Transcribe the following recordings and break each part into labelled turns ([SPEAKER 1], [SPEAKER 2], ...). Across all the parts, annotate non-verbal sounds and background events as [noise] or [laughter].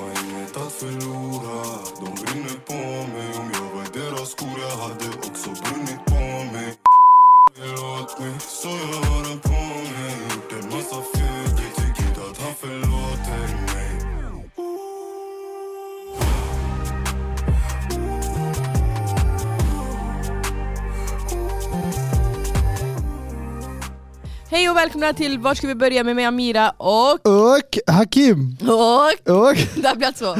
[SPEAKER 1] lätt att förlora De brinner på mig Om jag var i deras skor jag hade också brunnit på mig Ringer åt mig så jag har den på mig Gjort en massa fel Jag tycker inte att han förlåter mig
[SPEAKER 2] Hej och välkomna till Vart ska vi börja med mig Amira och...
[SPEAKER 3] Och Hakim!
[SPEAKER 2] Och...
[SPEAKER 3] Och,
[SPEAKER 2] Det har blivit så.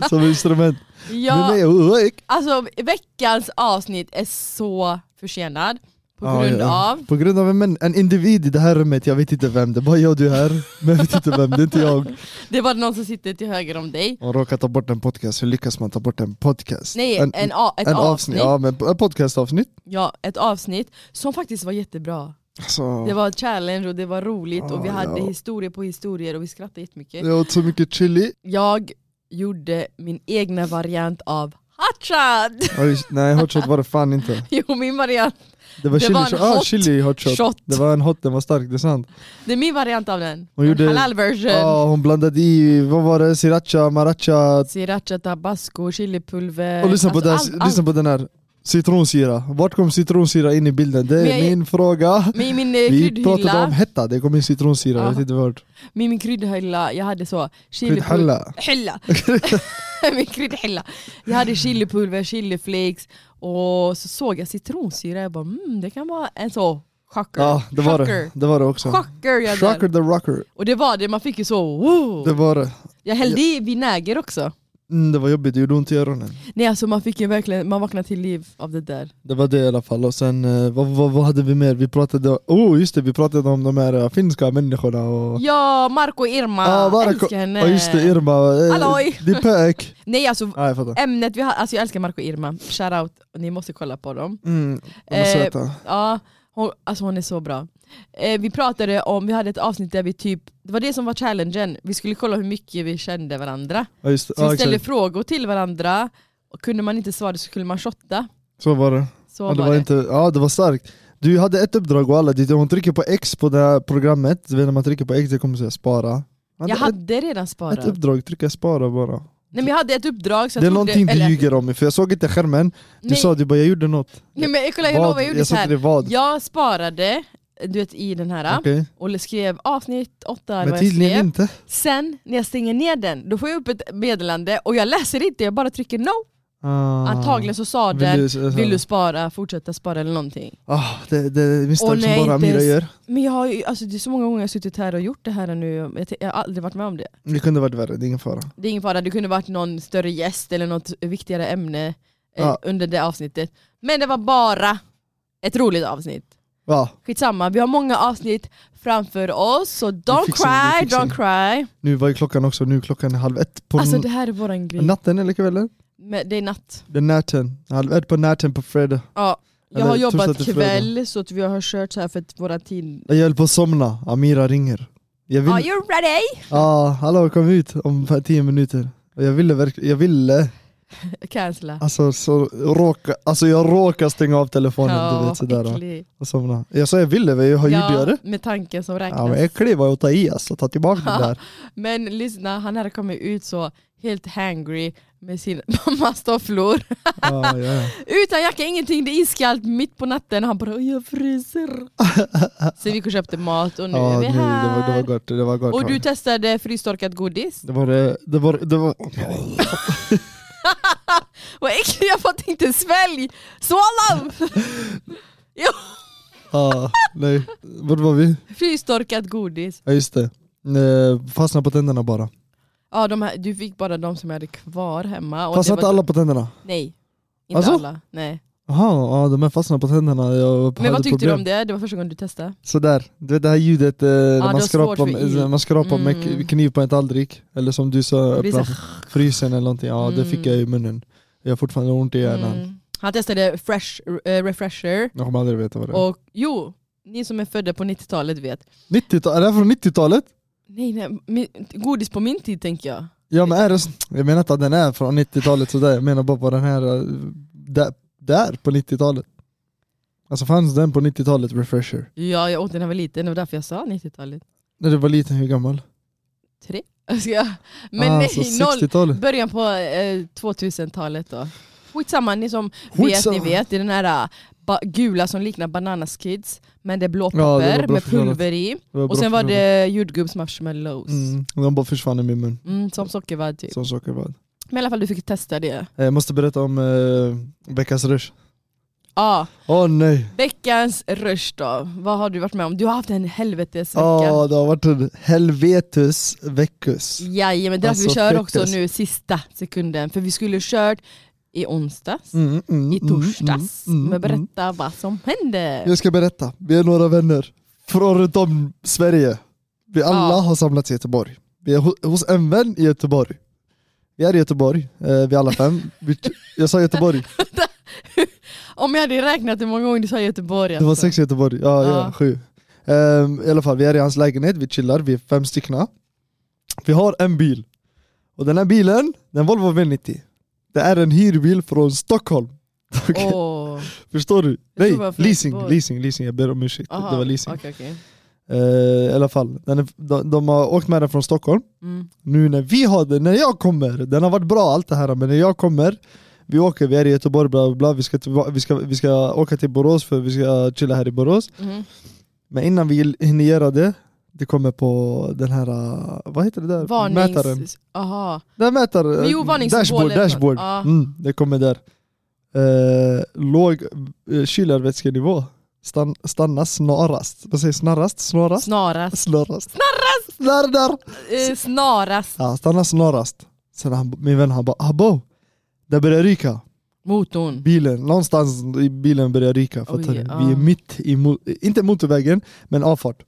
[SPEAKER 3] och som instrument.
[SPEAKER 2] [laughs] Ja,
[SPEAKER 3] Med mig, och.
[SPEAKER 2] alltså veckans avsnitt är så försenad på
[SPEAKER 3] Ja,
[SPEAKER 2] grund
[SPEAKER 3] ja.
[SPEAKER 2] av...
[SPEAKER 3] På grund av en, en individ i det här rummet, jag vet inte vem, det är bara jag och du här. Men jag vet inte vem, det är inte jag.
[SPEAKER 2] Det var någon som sitter till höger om dig.
[SPEAKER 3] Man råkar ta bort en podcast, hur lyckas man ta bort en podcast?
[SPEAKER 2] Nej, en,
[SPEAKER 3] en,
[SPEAKER 2] a, ett
[SPEAKER 3] en
[SPEAKER 2] avsnitt.
[SPEAKER 3] Ja men ett podcastavsnitt.
[SPEAKER 2] Ja, ett avsnitt som faktiskt var jättebra.
[SPEAKER 3] Alltså,
[SPEAKER 2] Det var ett challenge och det var roligt och vi
[SPEAKER 3] Ja,
[SPEAKER 2] hade
[SPEAKER 3] ja.
[SPEAKER 2] historier på historier och vi skrattade jättemycket.
[SPEAKER 3] jag åt så mycket chili.
[SPEAKER 2] Jag gjorde min egna variant av Hotshot!
[SPEAKER 3] Oj, Nej hot shot var det fan inte.
[SPEAKER 2] [laughs] Jo, min variant.
[SPEAKER 3] Det var
[SPEAKER 2] Det
[SPEAKER 3] chili,
[SPEAKER 2] var en
[SPEAKER 3] ah,
[SPEAKER 2] hot
[SPEAKER 3] chili hot shot.
[SPEAKER 2] shot.
[SPEAKER 3] Det var en hot, den var stark, det är sant.
[SPEAKER 2] Det är min variant av den.
[SPEAKER 3] Hon gjorde-
[SPEAKER 2] En halal version.
[SPEAKER 3] Ah, hon blandade i, vad var det, sriracha, maracha,
[SPEAKER 2] Sriracha, tabasco, chilipulver. Alltså,
[SPEAKER 3] Och lyssna, på, den,
[SPEAKER 2] allt, allt.
[SPEAKER 3] lyssna på den här, citronsyra. Vart kom citronsyra in i bilden? Det är
[SPEAKER 2] Men jag-
[SPEAKER 3] min fråga.
[SPEAKER 2] Men I min eh,
[SPEAKER 3] Vi pratade om
[SPEAKER 2] kryddhylla,
[SPEAKER 3] hetta, det kom in citronsyra, jag vet inte vart.
[SPEAKER 2] min, min kryddhylla, jag hade så chilipulver,
[SPEAKER 3] Kryddhalla. [laughs]
[SPEAKER 2] hylla. [laughs] min kryddhylla. Jag hade chilipulver, chiliflakes och så såg jag citronsyra, jag bara mm, det kan vara en så chocker.
[SPEAKER 3] Ja, det var
[SPEAKER 2] Chocker.
[SPEAKER 3] det. Det var det också.
[SPEAKER 2] Chocker jag dör.
[SPEAKER 3] Shocker the rocker.
[SPEAKER 2] Och det var det, man fick ju så wow.
[SPEAKER 3] Det var det.
[SPEAKER 2] Jag hällde i vinäger också.
[SPEAKER 3] Mm, det var jobbigt, det gjorde ont i öronen.
[SPEAKER 2] Nej alltså man fick ju verkligen, man vaknade till liv av det där.
[SPEAKER 3] Det var det i alla fall. Och sen, eh, vad, vad, vad hade vi mer? Vi pratade, oh just det, vi pratade om de här eh, finska människorna och...
[SPEAKER 2] Ja, Marco och Irma,
[SPEAKER 3] Ah, bara-
[SPEAKER 2] älskar henne.
[SPEAKER 3] Ja just det, Irma. eh,
[SPEAKER 2] Halloj.
[SPEAKER 3] Det är pök.
[SPEAKER 2] Nej alltså
[SPEAKER 3] Ja, jag fattar.
[SPEAKER 2] Ämnet vi har, alltså jag älskar Marco och Irma, shoutout, ni måste kolla på dem.
[SPEAKER 3] Mm, de är
[SPEAKER 2] Eh,
[SPEAKER 3] söta.
[SPEAKER 2] Ja, hon, alltså hon är så bra. Eh, vi pratade om, vi hade ett avsnitt där vi typ, det var det som var challengen, vi skulle kolla hur mycket vi kände varandra.
[SPEAKER 3] Ja, just det.
[SPEAKER 2] Så
[SPEAKER 3] Ja,
[SPEAKER 2] vi ställde
[SPEAKER 3] exakt.
[SPEAKER 2] frågor till varandra, och kunde man inte svara så skulle man shotta.
[SPEAKER 3] Så var det.
[SPEAKER 2] Så
[SPEAKER 3] Ja, det
[SPEAKER 2] var,
[SPEAKER 3] var
[SPEAKER 2] det.
[SPEAKER 3] inte, ja det var starkt. Du hade ett uppdrag och alla ditt, hon trycker på X på det här programmet, du vet när man trycker på X det kommer säga spara. Man
[SPEAKER 2] Jag
[SPEAKER 3] hade
[SPEAKER 2] hade redan
[SPEAKER 3] ett, ett
[SPEAKER 2] sparat.
[SPEAKER 3] uppdrag, trycka spara bara.
[SPEAKER 2] Nej men jag hade ett uppdrag så jag
[SPEAKER 3] det är
[SPEAKER 2] trodde-
[SPEAKER 3] någonting du
[SPEAKER 2] eller-
[SPEAKER 3] ljuger om, för jag såg inte skärmen, du
[SPEAKER 2] nej,
[SPEAKER 3] sa du bara jag gjorde något.
[SPEAKER 2] nej men kolla jag
[SPEAKER 3] Vad?
[SPEAKER 2] lovar, jag gjorde
[SPEAKER 3] jag
[SPEAKER 2] så
[SPEAKER 3] sa inte
[SPEAKER 2] här.
[SPEAKER 3] det vad.
[SPEAKER 2] Jag sparade, du vet i den här,
[SPEAKER 3] Okej.
[SPEAKER 2] och skrev avsnitt åtta eller
[SPEAKER 3] Men
[SPEAKER 2] vad jag skrev.
[SPEAKER 3] tydligen inte.
[SPEAKER 2] Sen när jag stänger ner den, då får jag upp ett meddelande och jag läser inte, jag bara trycker no.
[SPEAKER 3] Ah.
[SPEAKER 2] Antagligen så sa
[SPEAKER 3] Vill
[SPEAKER 2] den,
[SPEAKER 3] du, så-
[SPEAKER 2] vill du spara, fortsätta spara eller någonting.
[SPEAKER 3] Ah, det, det är misstag
[SPEAKER 2] Och nej,
[SPEAKER 3] som bara
[SPEAKER 2] inte
[SPEAKER 3] Amira
[SPEAKER 2] ens-
[SPEAKER 3] gör.
[SPEAKER 2] Men jag har ju, alltså det är så många gånger jag har suttit här och gjort det här nu, jag, t- jag har aldrig varit med om det.
[SPEAKER 3] Det kunde varit värre, det är ingen fara.
[SPEAKER 2] Det är ingen fara, det kunde varit någon större gäst eller något viktigare ämne eh,
[SPEAKER 3] Ja.
[SPEAKER 2] under det avsnittet. Men det var bara ett roligt avsnitt.
[SPEAKER 3] Ja,
[SPEAKER 2] Skitsamma, vi har många avsnitt framför oss, så don't
[SPEAKER 3] fixar det, vi
[SPEAKER 2] cry,
[SPEAKER 3] fixar
[SPEAKER 2] don't cry.
[SPEAKER 3] nu var ju klockan också, nu klockan är halv ett på
[SPEAKER 2] Alltså
[SPEAKER 3] n-
[SPEAKER 2] det här är våran grej.
[SPEAKER 3] natten eller kvällen?
[SPEAKER 2] Men det är natt.
[SPEAKER 3] Det är natten, halv ett på natten på fredag.
[SPEAKER 2] Ja, jag
[SPEAKER 3] Eller
[SPEAKER 2] har
[SPEAKER 3] torsdag
[SPEAKER 2] jobbat
[SPEAKER 3] till fredag.
[SPEAKER 2] kväll så att vi har kört så här för att våra tid...
[SPEAKER 3] Jag höll på att somna, Amira ringer. Jag vill,
[SPEAKER 2] Are you ready?
[SPEAKER 3] Ja, hallå kom ut om f- tio minuter. Och Jag ville verkligen, jag ville,
[SPEAKER 2] [laughs] Cancella.
[SPEAKER 3] alltså, så råka, alltså jag råkade stänga av telefonen Ah, du vet sådär
[SPEAKER 2] äcklig.
[SPEAKER 3] och somna. Jag sa jag ville, men jag har gjort
[SPEAKER 2] Ja,
[SPEAKER 3] det.
[SPEAKER 2] med tanken som räknas.
[SPEAKER 3] Ja men äcklig var jag att ta i alltså, ta tillbaka
[SPEAKER 2] [laughs]
[SPEAKER 3] det där.
[SPEAKER 2] men... lyssna, han hade kommit ut så helt hangry med sin [laughs] mammas tofflor.
[SPEAKER 3] Ja, ja, ja.
[SPEAKER 2] Utan jacka, ingenting, det är iskallt mitt på natten och han bara jag
[SPEAKER 3] [laughs]
[SPEAKER 2] fryser. så vi gick och köpte mat och nu
[SPEAKER 3] ja
[SPEAKER 2] är
[SPEAKER 3] nu,
[SPEAKER 2] vi
[SPEAKER 3] det, var, det var
[SPEAKER 2] här.
[SPEAKER 3] gott, det var gott.
[SPEAKER 2] och du testade frystorkat godis.
[SPEAKER 3] det var det, det var, det var,
[SPEAKER 2] Vad äckligt, jag fattar inte, svälj! Swallow!
[SPEAKER 3] [laughs]
[SPEAKER 2] jo,
[SPEAKER 3] ja, nej. Vart var vi?
[SPEAKER 2] frystorkat godis.
[SPEAKER 3] Ja just det. Eh, Fastna på tänderna bara.
[SPEAKER 2] Ja, de här, du fick bara de som jag hade kvar hemma. Och
[SPEAKER 3] Fastna
[SPEAKER 2] det
[SPEAKER 3] inte
[SPEAKER 2] var- typ-
[SPEAKER 3] alla på tänderna.
[SPEAKER 2] Nej, inte
[SPEAKER 3] Alltså?
[SPEAKER 2] alla. Nej.
[SPEAKER 3] Jaha, ja, de här fastnade på tänderna. Jag
[SPEAKER 2] Men vad
[SPEAKER 3] hade
[SPEAKER 2] tyckte
[SPEAKER 3] problem.
[SPEAKER 2] du om det? Det var första gången du testade.
[SPEAKER 3] Sådär, du vet det här ljudet eh, när
[SPEAKER 2] det var
[SPEAKER 3] man skrapar,
[SPEAKER 2] svårt för i.
[SPEAKER 3] med, man skrapar med
[SPEAKER 2] Mm.
[SPEAKER 3] k- kniv på en tallrik, eller som du sa,
[SPEAKER 2] Det blir
[SPEAKER 3] öppna frysen eller någonting. Ja det
[SPEAKER 2] Mm.
[SPEAKER 3] fick jag i munnen. Jag har fortfarande ont i hjärnan.
[SPEAKER 2] Mm. Han testade fresh, eh, refresher,
[SPEAKER 3] Jag kommer aldrig veta vad det är.
[SPEAKER 2] och jo, ni som är födda på 90-talet vet.
[SPEAKER 3] 90-tal, är det här från 90-talet?
[SPEAKER 2] Nej, nej, min- godis på min tid tänker jag.
[SPEAKER 3] Ja men är det, s- jag menar inte att den är från 90-talet sådär, jag menar bara på den här, eh, där, där på 90-talet. Alltså fanns den på 90-talet, refresher?
[SPEAKER 2] Ja, jag åt den när jag var liten, det var därför jag sa 90-talet.
[SPEAKER 3] När du var liten, hur gammal?
[SPEAKER 2] Tre? [laughs] Ska jag- Men
[SPEAKER 3] ah,
[SPEAKER 2] nej,
[SPEAKER 3] så
[SPEAKER 2] noll,
[SPEAKER 3] 60-talet.
[SPEAKER 2] början på eh, 2000-talet då. Skitsamma, ni som
[SPEAKER 3] Skitsamma.
[SPEAKER 2] vet, ni vet. Det är den här eh, ba- gula som liknar Bananas Kids, men det är
[SPEAKER 3] Ja, det var
[SPEAKER 2] blåpapper
[SPEAKER 3] bra
[SPEAKER 2] med
[SPEAKER 3] förklarat.
[SPEAKER 2] pulver i.
[SPEAKER 3] Det var
[SPEAKER 2] Och
[SPEAKER 3] bra
[SPEAKER 2] sen var
[SPEAKER 3] förklarat.
[SPEAKER 2] det jordgubbsmarshmallows. Mm.
[SPEAKER 3] Mm, de bara försvann i min mun.
[SPEAKER 2] som sockervadd typ.
[SPEAKER 3] Sån saker var det.
[SPEAKER 2] Men i alla fall du fick testa det.
[SPEAKER 3] Eh, Jag måste berätta om eh, veckans rush.
[SPEAKER 2] Ja,
[SPEAKER 3] Åh oh, nej!
[SPEAKER 2] veckans rush då. Vad har du varit med om? Du har haft en helvetesvecka.
[SPEAKER 3] Åh, det har varit en helvetus veckus.
[SPEAKER 2] Jajamän, det är därför vi
[SPEAKER 3] Alltså,
[SPEAKER 2] kör också
[SPEAKER 3] fruktest.
[SPEAKER 2] nu sista sekunden. För vi skulle ha kört i onsdags,
[SPEAKER 3] Mm, mm,
[SPEAKER 2] i
[SPEAKER 3] mm,
[SPEAKER 2] torsdags.
[SPEAKER 3] mm, mm,
[SPEAKER 2] men
[SPEAKER 3] mm.
[SPEAKER 2] berätta vad som hände.
[SPEAKER 3] Jag ska berätta, vi är några vänner från runt om Sverige. Vi alla
[SPEAKER 2] Ja.
[SPEAKER 3] har samlats i Göteborg. Vi är ho- hos en vän i Göteborg. Vi är i Göteborg, eh, vi alla fem. Vi, jag sa Göteborg,
[SPEAKER 2] Om jag hade räknat hur många gånger du sa Göteborg
[SPEAKER 3] det var
[SPEAKER 2] alltså.
[SPEAKER 3] sex i Göteborg, ja, ja.
[SPEAKER 2] Ja.
[SPEAKER 3] sju. Ehm, I alla fall, vi är i hans lägenhet, vi chillar, vi är fem styckna. Vi har en bil. Och den här bilen, den Volvo V90. Det är en hyrbil från Stockholm. Okej,
[SPEAKER 2] Åh,
[SPEAKER 3] Förstår du?
[SPEAKER 2] det
[SPEAKER 3] Nej,
[SPEAKER 2] var från
[SPEAKER 3] leasing,
[SPEAKER 2] Göteborg.
[SPEAKER 3] leasing, leasing, jag ber om ursäkt.
[SPEAKER 2] aha,
[SPEAKER 3] Det var leasing.
[SPEAKER 2] okej, okej.
[SPEAKER 3] Eh, I alla fall, den är, de, de har åkt med den från Stockholm.
[SPEAKER 2] Mm.
[SPEAKER 3] Nu när vi har den, när jag kommer, den har varit bra allt det här men när jag kommer, vi åker, vi är i Göteborg, bla bla, bla vi, ska, till- vi, ska, vi ska åka till Borås för vi ska chilla här i Borås.
[SPEAKER 2] mhm.
[SPEAKER 3] Men innan vi hinner göra det, det kommer på den här, eh, vad heter det där? Mätaren.
[SPEAKER 2] Varnings... Aha.
[SPEAKER 3] Den mätar,
[SPEAKER 2] Men jo, varningssymbolen.
[SPEAKER 3] dashboard, dashboard.
[SPEAKER 2] Ja.
[SPEAKER 3] Mm, det kommer där. Eh, låg uh, kylarvätskenivå, Stan, stanna snarast. Vad säger snarast? Snarast?
[SPEAKER 2] Snarast.
[SPEAKER 3] Snarast. Snarast! Snarrar!
[SPEAKER 2] Eh, snarast.
[SPEAKER 3] Ja, stanna snarast. Sen han, min vän han bara abo, det börjar ryka.
[SPEAKER 2] Motorn.
[SPEAKER 3] Bilen, någonstans i bilen börjar ryka. Fattar
[SPEAKER 2] Oj,
[SPEAKER 3] du?
[SPEAKER 2] ja.
[SPEAKER 3] Vi är mitt i, mo- inte motorvägen, men avfart.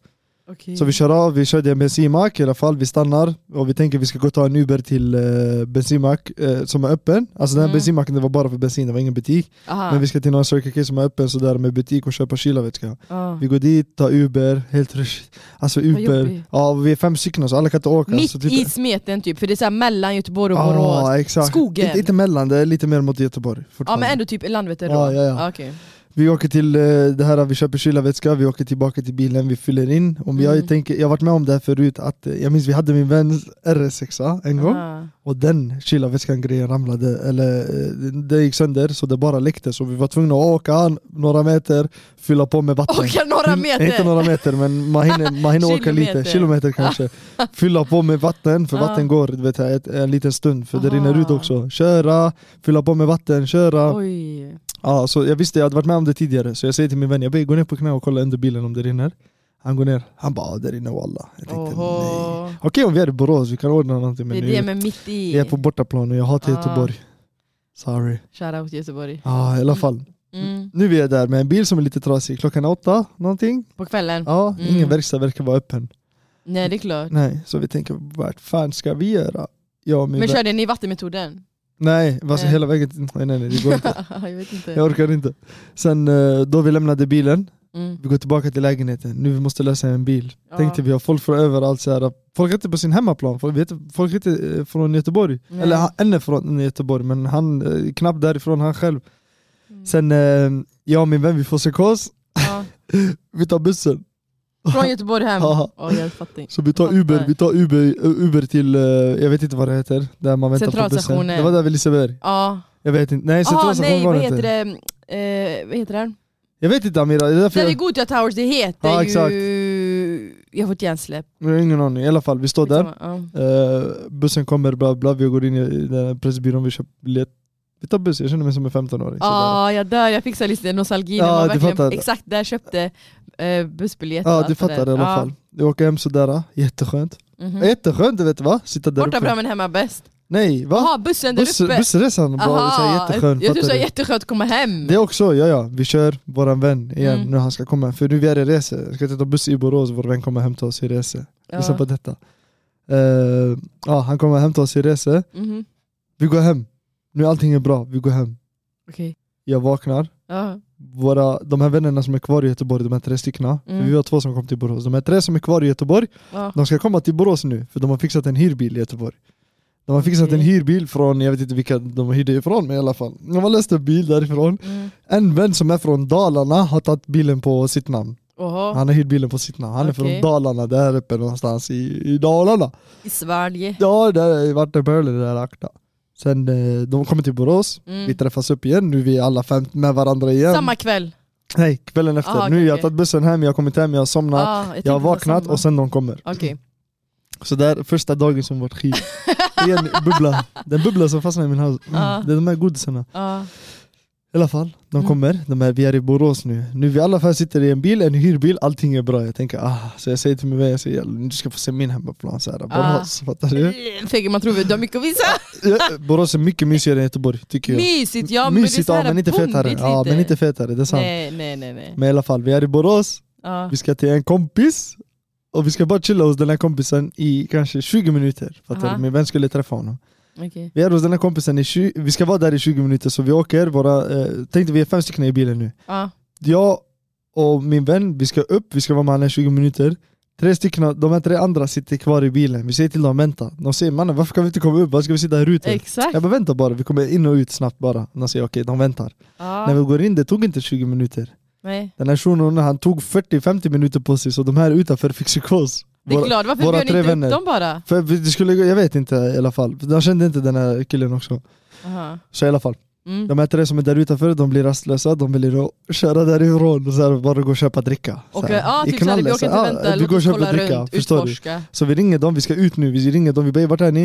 [SPEAKER 2] Okej.
[SPEAKER 3] Så vi kör av, vi kör till en bensinmack i alla fall, vi stannar och vi tänker vi ska gå och ta en Uber till eh, bensinmack eh, som är öppen. Alltså den här
[SPEAKER 2] Mm.
[SPEAKER 3] bensinmacken det var bara för bensin, det var ingen butik.
[SPEAKER 2] Aha.
[SPEAKER 3] Men vi ska till någon Circle K som är öppen sådär med butik och köpa kylarvätska.
[SPEAKER 2] ja.
[SPEAKER 3] Vi går dit, tar Uber, helt rushigt. Alltså Uber,
[SPEAKER 2] jobbigt.
[SPEAKER 3] ja vi är fem stycken så alla kan inte åka.
[SPEAKER 2] Mitt
[SPEAKER 3] så typ- Ah,
[SPEAKER 2] i smeten typ, för det är så här mellan Göteborg och Borås.
[SPEAKER 3] Ja, exakt.
[SPEAKER 2] Skogen.
[SPEAKER 3] Inte, inte mellan, det är lite mer mot Göteborg
[SPEAKER 2] Ja
[SPEAKER 3] fortfarande.
[SPEAKER 2] men ändå typ Landvetter då?
[SPEAKER 3] Ja, ja, ja.
[SPEAKER 2] okej.
[SPEAKER 3] Vi åker till eh, det här, vi köper kylarvätska, vi åker tillbaka till bilen, vi fyller in. Om jag,
[SPEAKER 2] Mm.
[SPEAKER 3] tänker, jag har varit med om det här förut, att, eh, jag minns vi hade min väns RS6 en gång
[SPEAKER 2] Ah.
[SPEAKER 3] och den kylarvätskan-grejen ramlade, eller eh, det gick sönder så det bara läckte så vi var tvungna att åka några meter, fylla på med vatten. Mm,
[SPEAKER 2] Åka några meter!
[SPEAKER 3] Inte några meter men man hinner, man hinner åka lite,
[SPEAKER 2] Kilometer.
[SPEAKER 3] kilometer kanske Fylla på med vatten, för
[SPEAKER 2] Ja. Ah.
[SPEAKER 3] vatten går du vet, ett, en liten stund för det
[SPEAKER 2] Aha.
[SPEAKER 3] rinner ut också Köra, fylla på med vatten, köra
[SPEAKER 2] Oj.
[SPEAKER 3] ja, så Jag visste, jag hade varit med om det tidigare så jag säger till min vän, jag ber gå ner på knä och kolla under bilen om det rinner Han går ner, han bara "Ah, det rinner wallah Jag tänkte nej
[SPEAKER 2] Oho.
[SPEAKER 3] Okej om vi är i Borås, vi kan ordna någonting
[SPEAKER 2] Det
[SPEAKER 3] men
[SPEAKER 2] är det
[SPEAKER 3] nu,
[SPEAKER 2] med mitt i.
[SPEAKER 3] jag är på bortaplan och jag hatar
[SPEAKER 2] Ah.
[SPEAKER 3] Göteborg Sorry
[SPEAKER 2] Shoutout Göteborg.
[SPEAKER 3] Ja i alla fall,
[SPEAKER 2] Mm.
[SPEAKER 3] nu är vi där med en bil som är lite trasig, klockan är åtta någonting
[SPEAKER 2] På kvällen?
[SPEAKER 3] Ja, Mm,
[SPEAKER 2] Mm.
[SPEAKER 3] ingen verkstad verkar vara öppen
[SPEAKER 2] Nej det är klart.
[SPEAKER 3] Nej, så vi tänker vart fan ska vi göra? Jag och min
[SPEAKER 2] Men
[SPEAKER 3] vän-
[SPEAKER 2] körde ni
[SPEAKER 3] [laughs]
[SPEAKER 2] vattenmetoden?
[SPEAKER 3] Nej, alltså
[SPEAKER 2] Nej.
[SPEAKER 3] hela vägen till... Nej nej nej, det går inte.
[SPEAKER 2] jag vet inte.
[SPEAKER 3] Jag orkar inte. Sen eh, då vi lämnade bilen,
[SPEAKER 2] Mm.
[SPEAKER 3] vi går tillbaka till lägenheten. Nu vi måste lösa en bil.
[SPEAKER 2] Ja.
[SPEAKER 3] Tänkte vi har folk från överallt så här. Folk är inte på sin hemmaplan, folk, vet, folk är inte eh, från Göteborg.
[SPEAKER 2] Nej.
[SPEAKER 3] Eller han, en är från Göteborg men han eh, knappt därifrån han själv.
[SPEAKER 2] Mm.
[SPEAKER 3] Sen eh, jag och min vän vi får psykos,
[SPEAKER 2] Ja.
[SPEAKER 3] vi tar bussen.
[SPEAKER 2] Från Göteborg hem?
[SPEAKER 3] [laughs] Ja.
[SPEAKER 2] Åh, jag fattar.
[SPEAKER 3] Så vi tar
[SPEAKER 2] Fattar.
[SPEAKER 3] Uber, vi tar Uber, Uber till, eh, jag vet inte vad det heter, där man väntar på bussen.
[SPEAKER 2] Centralstationen.
[SPEAKER 3] Det var där vid Liseberg.
[SPEAKER 2] Ja.
[SPEAKER 3] Jag vet inte, nej
[SPEAKER 2] Ah,
[SPEAKER 3] centralstation
[SPEAKER 2] nej
[SPEAKER 3] var
[SPEAKER 2] vad
[SPEAKER 3] det
[SPEAKER 2] heter
[SPEAKER 3] inte.
[SPEAKER 2] det? Eh, vad heter den?
[SPEAKER 3] Jag vet inte Amira, det är därför
[SPEAKER 2] Där vid
[SPEAKER 3] jag,
[SPEAKER 2] Gothia Towers, det heter
[SPEAKER 3] Ja, exakt.
[SPEAKER 2] ju... Jag har fått hjärnsläpp.
[SPEAKER 3] jag har ingen aning. I alla fall, vi står
[SPEAKER 2] Liksom
[SPEAKER 3] där,
[SPEAKER 2] Ja.
[SPEAKER 3] Eh, bussen kommer, bla bla, vi går in i den här pressbyrån, vi köper biljett. Vi tar buss, jag känner mig som en 15-åring.
[SPEAKER 2] Ja,
[SPEAKER 3] sådär.
[SPEAKER 2] Ah, jag dör. Jag fick så här lite nostalgi
[SPEAKER 3] Ja,
[SPEAKER 2] när
[SPEAKER 3] du
[SPEAKER 2] man verkligen
[SPEAKER 3] fattar.
[SPEAKER 2] exakt där köpte eh, bussbiljett.
[SPEAKER 3] Ja
[SPEAKER 2] och
[SPEAKER 3] du
[SPEAKER 2] allt det
[SPEAKER 3] fattar
[SPEAKER 2] där.
[SPEAKER 3] i alla
[SPEAKER 2] Ja.
[SPEAKER 3] fall. Vi åker hem sådär, jätteskönt. Eh,
[SPEAKER 2] mhm.
[SPEAKER 3] Jätteskönt du vet va? Sitta där
[SPEAKER 2] Borta bra
[SPEAKER 3] uppe.
[SPEAKER 2] men hemma bäst.
[SPEAKER 3] Nej va?
[SPEAKER 2] Jaha, bussen där
[SPEAKER 3] Buss,
[SPEAKER 2] uppe.
[SPEAKER 3] bussresan, bara,
[SPEAKER 2] Aha,
[SPEAKER 3] så här, jätteskönt.
[SPEAKER 2] Jag tror
[SPEAKER 3] fattar
[SPEAKER 2] det
[SPEAKER 3] du?
[SPEAKER 2] jätteskönt att komma hem.
[SPEAKER 3] Det också, ja ja. Vi kör våran vän igen
[SPEAKER 2] Mm.
[SPEAKER 3] nu han ska komma. För nu vi är i resa, jag ska inte ta buss i Borås, vår vän kommer hämta oss i resa.
[SPEAKER 2] Ja.
[SPEAKER 3] Lyssna liksom på detta. Eh, ja, han kommer hämta oss i resa.
[SPEAKER 2] Mhm.
[SPEAKER 3] Vi går hem. Nu allting är bra, vi går hem.
[SPEAKER 2] Okej.
[SPEAKER 3] Jag vaknar.
[SPEAKER 2] Ja.
[SPEAKER 3] Våra, de här vännerna som är kvar i Göteborg, de här tre styckna. för
[SPEAKER 2] Mm.
[SPEAKER 3] Vi var två som kom till Borås. De här tre som är kvar i Göteborg,
[SPEAKER 2] Ja.
[SPEAKER 3] de ska komma till Borås nu. För de har fixat en hyrbil i Göteborg. De har fixat
[SPEAKER 2] Okej.
[SPEAKER 3] en hyrbil från, jag vet inte vilka de hyrde ifrån men i alla fall. De har löst en bil därifrån.
[SPEAKER 2] Mm.
[SPEAKER 3] En vän som är från Dalarna har tagit bilen på sitt namn.
[SPEAKER 2] Oha.
[SPEAKER 3] Han har hyrt bilen på sitt namn. Han är
[SPEAKER 2] Okej.
[SPEAKER 3] från Dalarna, där uppe någonstans i, i Dalarna.
[SPEAKER 2] I Sverige.
[SPEAKER 3] Ja, där i Vattenpölen, där akta. Sen eh, de kommer till Borås,
[SPEAKER 2] Mm.
[SPEAKER 3] vi träffas upp igen, nu är vi alla fem med varandra igen.
[SPEAKER 2] Samma kväll.
[SPEAKER 3] Nej, kvällen efter.
[SPEAKER 2] Ah, okej,
[SPEAKER 3] nu jag har
[SPEAKER 2] okej.
[SPEAKER 3] tagit bussen hem, jag har kommit hem, jag har somnat,
[SPEAKER 2] Ah, tänkte
[SPEAKER 3] jag har
[SPEAKER 2] det var
[SPEAKER 3] vaknat
[SPEAKER 2] samma.
[SPEAKER 3] och sen de kommer.
[SPEAKER 2] Okej.
[SPEAKER 3] Så där första dagen som vart
[SPEAKER 2] [laughs]
[SPEAKER 3] skit. Igen, bubbla. Den bubbla som fastnar i min hals. Mm.
[SPEAKER 2] Ah.
[SPEAKER 3] Det är de här godisarna.
[SPEAKER 2] Ja.
[SPEAKER 3] I alla fall, de
[SPEAKER 2] Mm.
[SPEAKER 3] kommer, de här, vi är i Borås nu. Nu vi alla fem sitter i en bil, en hyrbil, allting är bra. Jag tänker ah, så jag säger till min vän, jag säger du ska få se min hemmaplan såhär,
[SPEAKER 2] Ah.
[SPEAKER 3] Borås, fattar du?
[SPEAKER 2] Fegge, man tror du har mycket att visa.
[SPEAKER 3] Ja, Borås är mycket mysigare än Göteborg, tycker jag.
[SPEAKER 2] Mysigt ja, men
[SPEAKER 3] Mysigt,
[SPEAKER 2] det är
[SPEAKER 3] ja,
[SPEAKER 2] så här
[SPEAKER 3] men inte fetare.
[SPEAKER 2] bondigt
[SPEAKER 3] Ja,
[SPEAKER 2] lite.
[SPEAKER 3] men inte fetare, det är sant.
[SPEAKER 2] Nej, nej, nej. nej.
[SPEAKER 3] Men i alla fall, vi är i Borås,
[SPEAKER 2] Ja.
[SPEAKER 3] vi ska till en kompis och vi ska bara chilla hos den här kompisen i kanske 20 minuter. Fattar
[SPEAKER 2] Aha.
[SPEAKER 3] du? Min vän skulle träffa honom.
[SPEAKER 2] Okej.
[SPEAKER 3] Vi är hos den här kompisen i 20, vi ska vara där i 20 minuter så vi åker, våra, eh, tänkte vi är fem stycken i bilen nu.
[SPEAKER 2] Ja.
[SPEAKER 3] Jag och min vän, vi ska upp, vi ska vara med honom i 20 minuter. Tre stycken, de här tre andra sitter kvar i bilen. Vi säger till dem vänta. De säger mannen varför kan vi inte komma upp? Varför ska vi sitta här ute?
[SPEAKER 2] Exakt.
[SPEAKER 3] Typ. Jag bara vänta bara, vi kommer in och ut snabbt bara. De säger okej, de väntar. När
[SPEAKER 2] Ja.
[SPEAKER 3] vi går in, det tog inte 20 minuter.
[SPEAKER 2] Nej.
[SPEAKER 3] Den här shunon han tog 40-50 minuter på sig så de här utanför fick psykos.
[SPEAKER 2] Det är
[SPEAKER 3] Våra-
[SPEAKER 2] klart, varför
[SPEAKER 3] våra
[SPEAKER 2] bjöd ni
[SPEAKER 3] tre
[SPEAKER 2] inte
[SPEAKER 3] vänner.
[SPEAKER 2] upp dem bara?
[SPEAKER 3] För vi- det skulle, jag vet inte i alla fall, För jag kände inte den här killen också.
[SPEAKER 2] Aha.
[SPEAKER 3] Så i alla fall,
[SPEAKER 2] Mm.
[SPEAKER 3] de här tre som är där utanför de blir rastlösa, de vill ju köra därifrån och så här, bara gå och köpa dricka. Så
[SPEAKER 2] Och,
[SPEAKER 3] här,
[SPEAKER 2] ja,
[SPEAKER 3] i
[SPEAKER 2] typ såhär, vi
[SPEAKER 3] knallen,
[SPEAKER 2] orkar
[SPEAKER 3] så
[SPEAKER 2] inte
[SPEAKER 3] här,
[SPEAKER 2] vänta,
[SPEAKER 3] ja, vi
[SPEAKER 2] låt
[SPEAKER 3] går och
[SPEAKER 2] oss
[SPEAKER 3] köper
[SPEAKER 2] kolla
[SPEAKER 3] dricka,
[SPEAKER 2] runt,
[SPEAKER 3] förstår du?
[SPEAKER 2] utforska.
[SPEAKER 3] Så vi ringer dem, vi ska ut nu, vi ringer dem, vi bara vart är ni?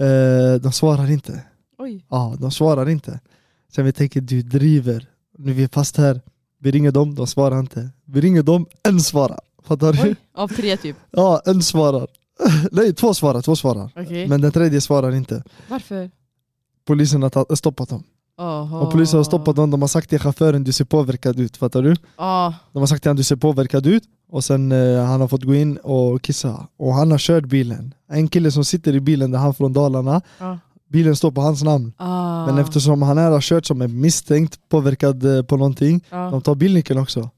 [SPEAKER 3] Eh, de svarar inte. [laughs]
[SPEAKER 2] Oj.
[SPEAKER 3] Ja, de svarar inte. Sen vi tänker du driver, nu är vi fast här. Vi ringer dem, de svarar inte. Vi ringer dem, en svarar. Fattar du?
[SPEAKER 2] Oj, av tre typ.
[SPEAKER 3] Ja, en svarar. [laughs] Nej, två svarar, två svarar.
[SPEAKER 2] Okej.
[SPEAKER 3] Men den tredje svarar inte.
[SPEAKER 2] Varför?
[SPEAKER 3] Polisen har ta- stoppat dem.
[SPEAKER 2] Oha.
[SPEAKER 3] Och polisen har stoppat dem, de har sagt till chauffören du ser påverkad ut, fattar du?
[SPEAKER 2] Ja.
[SPEAKER 3] De har sagt till honom du ser påverkad ut och sen eh, han har fått gå in och kissa. Och han har kört bilen. En kille som sitter i bilen, där han från Dalarna,
[SPEAKER 2] Ja.
[SPEAKER 3] bilen står på hans namn.
[SPEAKER 2] Ah.
[SPEAKER 3] Men eftersom han här har kört som är misstänkt påverkad eh, på någonting,
[SPEAKER 2] Ja. Ah.
[SPEAKER 3] de tar bilnyckeln också.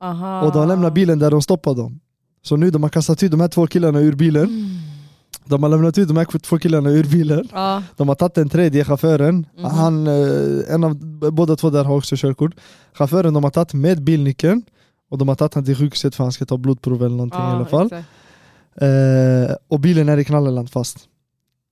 [SPEAKER 2] Aha.
[SPEAKER 3] Och de lämnar bilen där de stoppar dem. Så nu de har kastat ut de här två killarna ur bilen.
[SPEAKER 2] Mm.
[SPEAKER 3] De har lämnat ut de här två killarna ur bilen.
[SPEAKER 2] Ja.
[SPEAKER 3] De har tagit den tredje chauffören,
[SPEAKER 2] Mhm.
[SPEAKER 3] han, eh, en av, b- båda två där har också körkort. Chauffören de har tagit med bilnyckeln och de har tagit han till sjukhuset för han ska ta blodprov eller någonting i alla fall.
[SPEAKER 2] exakt.
[SPEAKER 3] Eh, och bilen är i Knalleland fast.